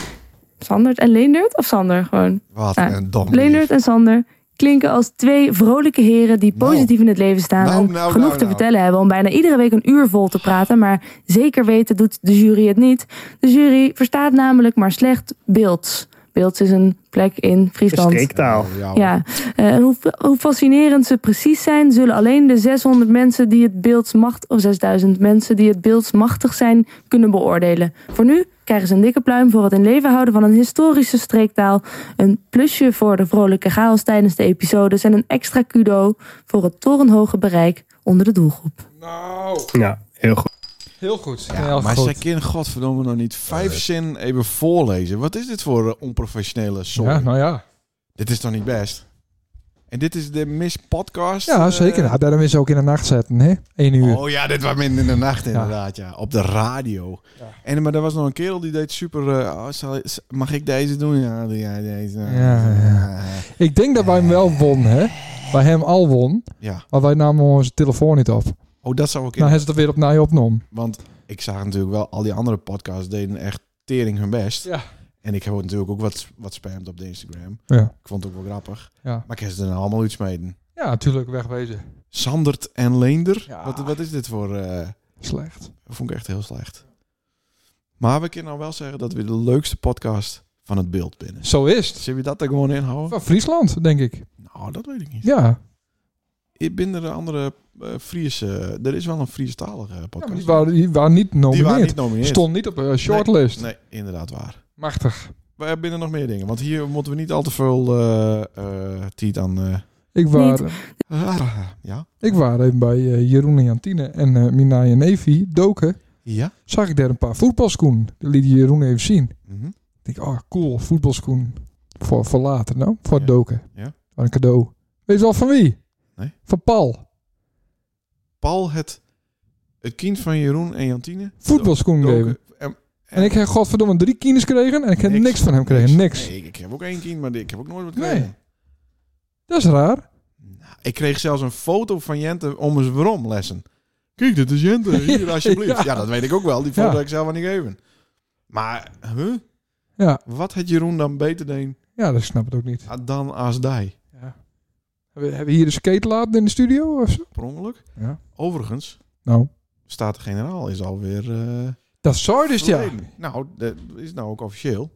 Sandert en Leendert of Sander gewoon?
Wat
Ah,
een dom.
Leendert en Sander klinken als twee vrolijke heren die
Nou.
positief in het leven staan.
Nou,
en
nou,
genoeg
nou,
te
nou.
vertellen hebben om bijna iedere week een uur vol te praten. Maar zeker weten doet de jury het niet. De jury verstaat namelijk maar slecht beeld. Beeld is een plek in Friesland.
Steektaal.
Ja, hoor.
Ja, eh, en hoe, hoe fascinerend ze precies zijn, zullen alleen de 600 mensen die het beeld macht, of 6000 mensen die het beeld machtig zijn, kunnen beoordelen. Voor nu krijgen ze een dikke pluim voor het in leven houden van een historische streektaal, een plusje voor de vrolijke chaos tijdens de episodes en een extra kudo voor het torenhoge bereik onder de doelgroep.
Nou,
Ja, heel goed.
heel goed.
Ja, maar zij kunnen godverdomme nog niet vijf zin even voorlezen. Wat is dit voor eh, onprofessionele song?
Ja, nou ja.
Dit is toch niet best? En dit is de Miss Podcast?
Ja,
eh?
zeker. Nou, daarom is ze ook in de nacht zetten, hè? 1 uur.
Oh ja, dit was midden in de nacht inderdaad, ja. Op de radio. En, maar er was nog een kerel die deed super... eh, oh, zal- mag ik deze doen? Ja, die- ja, deze.
Ja, ja. Ik denk dat wij hem wel won, hè? Bij hem al won.
Ja.
Maar wij namen onze telefoon niet op.
Oh, dat zou ik...
Nou, hij is het er weer op je opnomen.
Want ik zag natuurlijk wel, al die andere podcasts deden echt tering hun best.
Ja.
En ik heb ook natuurlijk ook wat, wat spamd op de Instagram.
Ja.
Ik vond het ook wel grappig.
Ja.
Maar ik heb ze er nou allemaal iets mee.
Ja, natuurlijk wegwezen.
Sandert en Leender.
Ja.
Wat, wat is dit voor... eh,
Slecht.
vond ik echt heel slecht. Maar we kunnen nou wel zeggen dat we de leukste podcast van het beeld binnen.
Zo is het.
Zullen we dat er gewoon in houden?
Van Friesland, denk ik.
Nou, dat weet ik niet.
Ja,
Ik ben er een andere eh Friese... Er is wel een Friestalige
ja
podcast.
maar die waren, die waren niet
Die waren niet
nomineerd.
nomineerd.
Stond niet op een shortlist.
Nee, inderdaad waar.
Machtig.
We hebben er nog meer dingen. Want hier moeten we niet al te veel eh, eh, tijd aan... eh,
Ik was,
ah, ja?
ik was even bij eh, Jeroen en Jantine en eh Minai en Evi doken.
Ja?
Zag ik daar een paar voetbalschoenen. Die liet Jeroen even zien.
Mhm.
Ik denk, oh cool, voetbalschoen. Voor, voor later, nou? Voor het
Ja.
doken.
Ja.
Wat een cadeau. Weet je wel van wie?
Nee.
Van Paul.
Paul het, het kind van Jeroen en Jantine.
Voetbalschoen
Doken.
geven.
En,
En ik heb godverdomme drie kines gekregen en ik heb niks, van hem gekregen. Niks.
Nee, ik heb ook één kind, maar ik heb ook nooit wat
Nee.
gekregen.
Dat is raar.
Nou, ik kreeg zelfs een foto van Jente om eens waarom lessen. Kijk, dit is Jente, hier alsjeblieft.
Ja.
ja. dat weet ik ook wel. Die foto
Ja.
heb ik zelf aan niet geven. Maar, huh?
Ja.
Wat had Jeroen dan beter deen
Ja, dat snap ik ook niet.
dan als die?
Ja. Hebben, hebben we hier de skate laten in de studio of zo?
Per ongeluk.
Ja.
Overigens,
Nou,
Staten-Generaal is alweer... eh,
dat zou dus ja.
verleden. Nou, dat is nou ook officieel.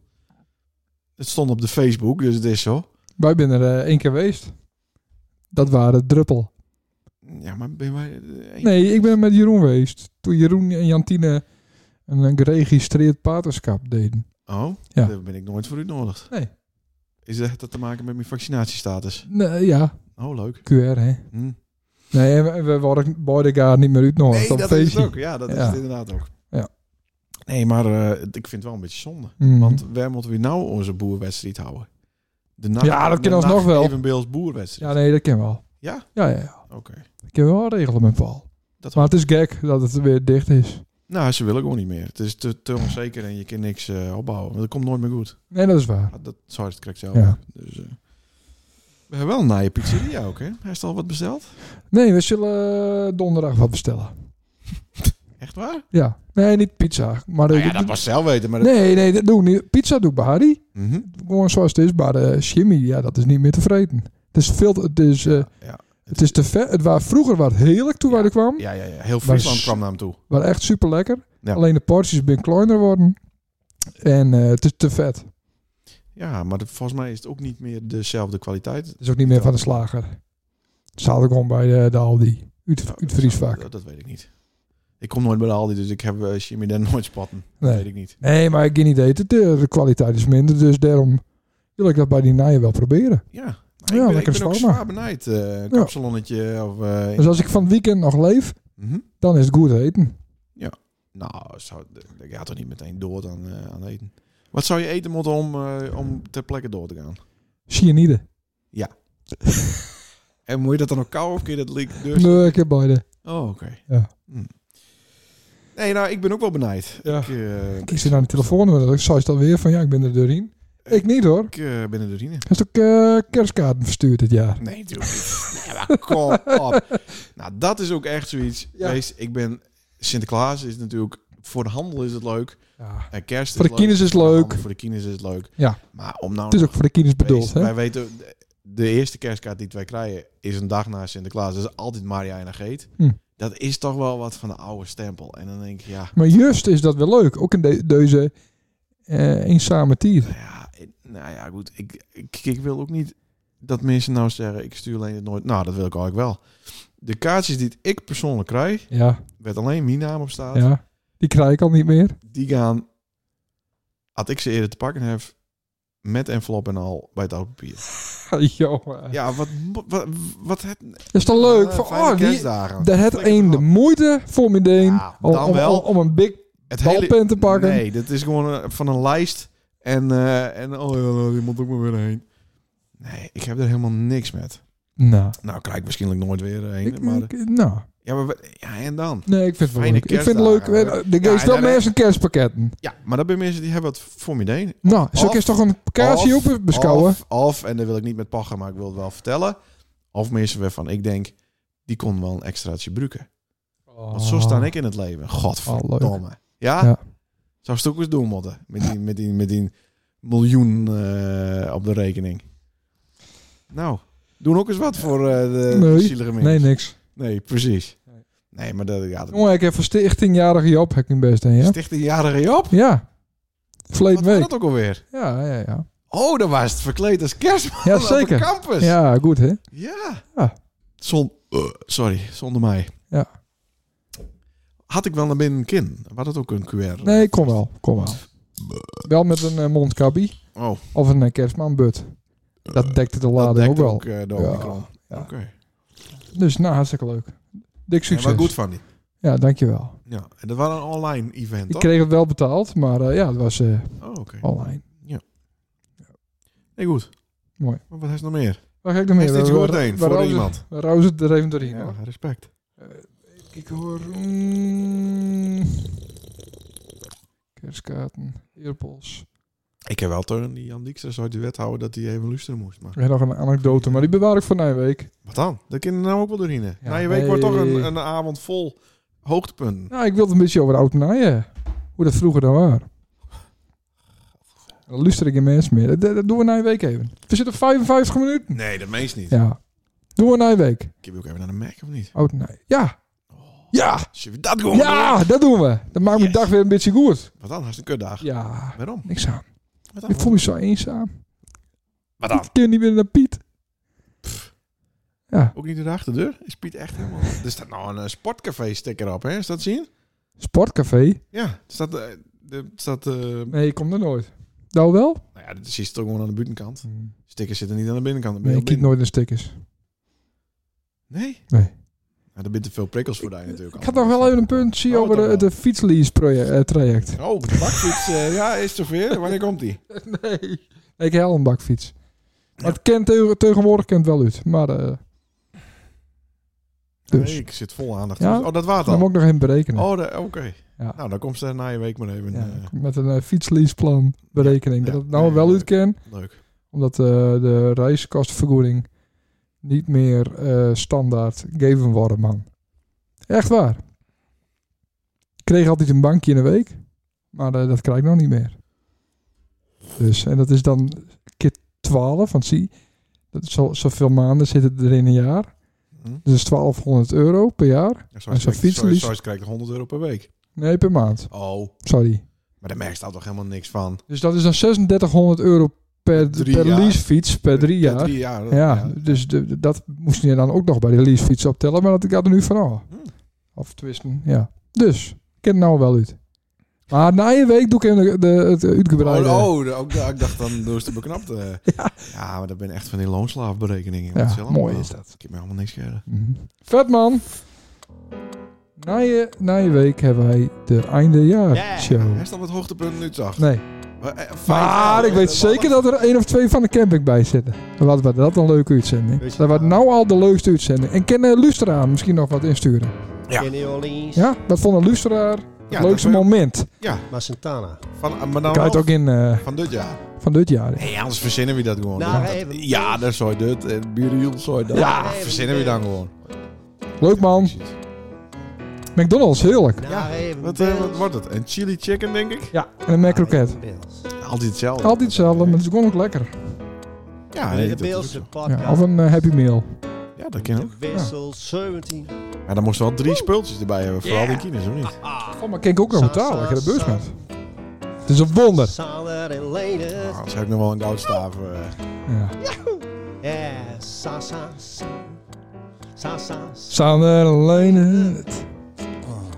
Het stond op de Facebook, dus het is zo.
Wij zijn er eh, één keer geweest. Dat waren druppel.
Ja, maar ben wij... eh, één-
Nee, ik ben met Jeroen geweest. Toen Jeroen en Jantine een, een geregistreerd paterschap deden.
Oh,
Ja.
daar ben ik nooit voor uitnodigd.
Nee.
Is dat dat te maken met mijn vaccinatiestatus?
Nee, ja,
Oh, leuk.
QR hè.
Hm.
Nee, en we, we worden beide elkaar niet meer uitnodigd
Nee,
op een
dat is
feestje.
het ook. Ja, dat is
Ja.
het inderdaad ook.
Ja.
Nee, maar eh, ik vind het wel een beetje zonde.
Mhm.
Want waar moeten we nou onze boerwedstrijd houden? De nacht,
Ja, dat
de
kan alsnog
nacht
wel.
Evenbeels boerwedstrijd.
Ja, nee, dat ken we al.
Ja?
Ja, ja, ja.
Oké.
Dat kunnen we wel regelen met Paul.
Dat-
maar het is gek dat het weer dicht is.
Nou, ze willen gewoon niet meer. Het is te, te onzeker en je kan niks eh, opbouwen. Want dat komt nooit meer goed.
Nee, dat is waar.
Ja, dat zou het krijgt zelf.
Ja.
Dus, eh, we hebben wel een naaie pizzeria ook, hè? Hij is al wat besteld.
Nee, we zullen eh, donderdag wat bestellen.
Echt waar?
Ja. Nee, niet pizza. Maar
Nou
eh,
ja, dat was zelf weten, maar... Dat...
Nee, nee, dat doen we niet. Pizza doe ik bij Harry.
Mhm.
Gewoon zoals het is. Maar de shimmy, ja, dat is niet meer te vreten. Het is veel te, het is, eh,
ja.
het is te vet. Het was vroeger wat heerlijk toen wij er kwam.
Ja, ja, ja. Heel Friesland
Maar-
kwam naar hem toe.
waren echt super lekker.
Ja.
Alleen de porties ben kleiner worden. En eh, het is te vet. Het
Ja, maar de- volgens mij is het ook niet meer dezelfde kwaliteit.
is ook niet meer van de slager. Het staat ook gewoon bij de, de Aldi. Uit,
Nou,
uit
dat
Friesvak.
zou- Dat, dat weet ik niet. Ik kom nooit bij de Aldi, dus ik heb eh, Jimmy Den nooit spatten. Dat
Nee.
weet ik niet.
Nee, maar ik heb niet eten. De, de kwaliteit is minder. Dus daarom wil ik dat bij die naaien wel proberen.
Ja, maar
Ja,
ik ben, ik
lekker
ben ook
zwaar,
zwaar benijd. eh, een kapsalonnetje of... eh,
Dus als ik van het weekend nog leef,
mhm.
dan is het goed eten.
Nou, zou, ik ga toch niet meteen door aan, eh, aan eten. Wat zou je eten moeten om, eh, om ter plekke door te gaan?
Cyanide.
En moet je dat dan ook kou of kun je dat leek dus?
Nee, ik heb beide.
Oh, oké.
Ja.
Hm. Nee, nou, ik ben ook wel benijd.
Ja.
Ik, eh,
Ik nou- zit aan de telefoon en dan zei ze dan weer van ja, ik ben er doorheen. Ik niet hoor.
ik eh, ben er doorheen.
Hij is ook eh, kerstkaarten verstuurd dit jaar.
Nee, natuurlijk niet. Nee, maar kom op. Nou, dat is ook echt zoiets.
Ja.
Wees, ik ben... Sinterklaas is natuurlijk... Voor de handel is het leuk.
Ja.
En kerst
Voor de
is leuk.
kinders is
Voor de
leuk.
handel, Voor de kinders is het leuk.
Ja.
Maar om nou...
Het is ook voor de kinders
nog-
bedoeld.
Wij
Hè?
weten... de- De eerste kerstkaart die wij krijgen is een dag na Sinterklaas. Dat is altijd Maria en Geet.
Hm.
Dat is toch wel wat van de oude stempel. En dan denk ik, ja...
Maar juist is dat wel leuk. Ook in de- deze eh, eenzame tijd.
Nou ja, ik- nou ja goed. Ik, ik, ik wil ook niet dat mensen nou zeggen... Ik stuur alleen het nooit... Nou, dat wil ik eigenlijk wel. De kaartjes die ik persoonlijk krijg...
Ja,
werd alleen mijn naam op staat.
ja. Die krijg ik al niet meer.
Die gaan, had ik ze eerder te pakken heb, met envelop en al bij het oud papier.
Jongen.
Ja, wat, wat, wat het,
Is dan leuk?
eh,
van,
fijne
oh, die,
kerstdagen.
daar het
Flikker
een de
erop.
moeite voor me deen
Ja,
om,
dan
om,
wel.
om, om een big...
het
balpen te pakken.
Nee, dat is gewoon eh, van een lijst en eh, en oh ja, die moet ook maar weer heen. Nee, ik heb er helemaal niks met.
Nou,
Nou, kijk, misschien nooit weer heen.
ik,
maar,
ik- nou,
ja, maar wat- ja, en dan?
nee, ik vind het wel
Fijne
leuk. Ik vind het leuk.
kerstdagen.
eh, Er
Ja,
geeft
en
wel
dan-
mensen kerstpakketten.
Ja, maar dat zijn mensen die hebben het voor me deen.
Nou, zo
of-
kun je toch een kaartje
of-
op beschouwen.
Of, of, en dat wil ik niet met pachen, maar ik wil het wel vertellen. Of mensen waarvan ik denk, die kon wel een extraatje gebruiken. Want
Ah.
zo sta ik in het leven.
Oh,
Godverdomme. ja?
Ja.
Zou ze het ook eens doen moeten. Met die, met die, met die miljoen eh, op de rekening. Nou, doen ook eens wat voor eh, de
Nee.
zielige mensen.
Nee, niks.
Nee, precies.
Nee.
Nee, maar dat gaat
Jongen, ik heb een stichtingjarige Job, heb ik hem best in, ja?
Stichting Jarige Job?
Ja. Verleden
Wat was
week.
dat ook alweer?
Ja, ja, ja.
Oh, dan was het verkleed als kerstman
Ja,
op de
zeker.
campus.
Ja, goed hè.
Ja.
Ja.
Zon, eh, sorry, zonder mij.
Ja.
Had ik wel naar binnen een kin? Had het ook een QR?
Nee, kom wel. Kom wel. Wel met een eh, mondkapje.
Oh, Eh,
Of een eh, kerstmanbut. Dat dekte de
dat
lading ook
dekt
wel.
ook, eh de
Ja.
Omicron.
Ja.
Oké. Okay.
Dus nou, hartstikke leuk. Dik
Ja,
succes. Ja,
goed van die.
dankjewel.
Ja, en dat was een online event,
Ik
toch?
kreeg het wel betaald, maar eh, ja, het was eh,
Oh, oké.
online.
Nee, goed.
Mooi.
Maar wat heeft nog meer?
Waar ga ik nog
Is
meer?
dit
We-
goed
we-
een
we
voor
rouzen-
iemand?
We rouzen het er even doorheen.
Ja,
hoor. Eh,
respect.
Ik hoor... mm, kerstkaarten, earpods.
Ik heb wel tegen die Jan Dijkstra uit de wet houden dat hij even luisteren moest. Maar
En nog een anekdote, maar die bewaar ik voor na een week.
wat dan? Dat kinderen nou ook wel doorheen. hè?
Ja,
Na je week
nee.
wordt toch een, een avond vol hoogtepunten.
Nou, ik wil het een beetje over oud naaien. Hoe dat vroeger dan was. Dan luister ik geen mensen meer. Dat, dat doen we na een week even. We zitten op 55 minuten.
Nee, dat meest niet.
Ja. Doen we na een week.
Ik heb ook even naar de Mac, of niet?
Oud naaien. Ja. Ja.
Zullen we dat gewoon doen?
Ja, dat doen we. Dat maakt mijn
Oh, Yes.
dag weer een beetje goed.
Wat dan? Hartstikke een kutdag.
Ja.
Waarom?
Niks aan.
Wat dan?
Ik voel me zo eenzaam.
Oh. Wat dan?
Ik ken niet meer naar Piet.
Ook niet door de achterdeur? Is Piet echt helemaal... er staat nou een eh, sportcafé sticker op, hè? Is dat zien?
Sportcafé?
Ja. Er staat... eh, de- er staat eh, nou
Nee, ik kom er nooit. Nou wel?
ja, dat is toch gewoon aan de buitenkant. Stickers zitten niet aan de binnenkant. dan ben
Nee,
je
ik
al Hmm. binnen.
kijk nooit naar stickers.
Nee?
Nee.
Nou, er bent te veel prikkels voor daar natuurlijk.
Ik had nog wel even een punt zien
Oh,
over
dat
de,
wel.
de fietslease proje- eh, traject.
Oh, de bakfiets. eh, ja, is toch weer? Wanneer komt die?
Nee. Ik heb al een bakfiets. Maar het kent tege- tegenwoordig kent wel uit. Maar eh Dus.
Nee, ik zit vol aandacht.
Ja?
Oh, dat water
dan
dan?
moet ik nog even berekenen.
Oh, de- oké.
Ja.
Nou, dan komt ze na je week maar even.
Ja,
eh,
met een eh, fietsleaseplan berekening.
Ja,
Dat het nou
nee,
wel
nee.
uit kan.
leuk.
Omdat eh, de reiskostenvergoeding niet meer eh, standaard gegeven wordt, man. Echt waar. Ik kreeg altijd een bankje in de week. Maar eh, dat krijg ik nog niet meer. Dus, en dat is dan keer 12. Want zie, dat is zo, zoveel maanden zitten er in een jaar.
Hm?
Dus dat is 1200 euro per jaar.
Ja,
En zo'n
Zoals krijg-
fietslease-
zoals- zoals krijg je 100 euro per week.
Nee, per maand.
Oh,
Sorry.
maar daar merk je daar toch helemaal niks van.
Dus dat is dan 3600 euro per,
Drie
per
jaar.
leasefiets per Eh, drie jaar.
drie jaar. dat-
Ja, dus de, de- dat moest je dan ook nog bij de leasefiets optellen, maar dat gaat er nu van af.
Hm.
Of twisten, ja. Dus, ik ken het nou wel uit. Maar na je week doe ik hem de, de, het uitgebreide.
Oh, oh, de- ook, de- ik dacht dan door de beknapte. ja. maar dat ben echt van die loonslaafberekeningen.
Ja,
Dat is heel
mooi
allemaal-
is dat.
Ik heb me helemaal niks gereden.
Mhm. Vet man! Na je, na je week hebben wij de
Yeah.
eindejaars show.
Hij staat wat hoogtepunt nu eh, zag.
Nee, maar ik weet zeker dat er één of twee van de camping bij zitten. Wat was dat een leuke
Weet
uitzending.
je
Dat was
wel.
nou al de leukste uitzending. En ken eh, Lustra misschien nog wat insturen?
Ja.
Kenny Orleans.
Ja, dat vond een Lustra het leukste moment.
Maar Santana.
Oh, Van, maar dan
Ik had het
wel
ook in eh,
van dit jaar.
van dit jaar.
Nee, anders verzinnen we dat gewoon.
Nou,
Dat-
even.
ja, dat zou je dit. En Buriel zou je dat.
Ja,
Ja, verzinnen we dan gewoon.
Leuk man.
Ja, precies.
McDonald's, heerlijk.
Naar even
Wat, eh, wat
Bills.
wordt het? Een chili chicken, denk ik?
Ja. En een macroket.
Naar even Bills.
Altijd hetzelfde.
Altijd hetzelfde, maar het is gewoon ook lekker.
Ja, Ah, nee,
De
dat, is ook
Bills de
zo.
podcast.
Ja, of een eh, Happy Meal.
ja, dat kan ook.
De wissel 17.
Maar dan moesten we wel drie spultjes erbij hebben. Vooral
Ja.
die kines, of niet?
Oh, maar kan ik ook nog betalen. Ik heb de beurs met. Het is een wonder.
Sander en Lenen.
Ah.
Nou, dan zou ik nog wel een goudstaaf... eh,
Ja.
Ja, sa sa sa. Sa sa sa.
Sander en Leonard.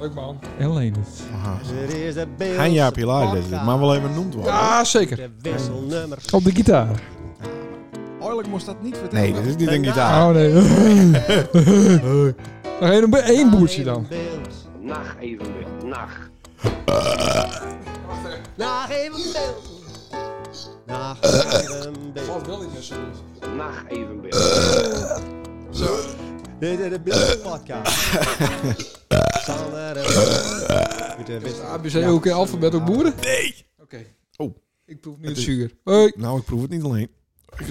Leuk man. En Leonard.
aha.
Dit is de Bills.
Geen Jaap Hilaar is dit,
podcast.
maar wel even noemd worden.
Ja, zeker.
De wissel nummer.
Op de gitaar.
Oorlijk moest dat niet vertellen. Nee, dat is niet een gitaar.
Daarna-
Oh nee. Nog één, één boertje dan.
Bills.
Nacht evenbeeld. Nacht.
Naar even Bills. Naar even Bills.
Nacht evenbeeld.
Dit is de Bills podcast. Sander en Lenen. Met de wissel.
ABC ook in alfabet ook boeren?
Nee!
Oké.
Oh.
Ik proef nu het zuur. Hoi.
Nou, ik proef het niet alleen. Ik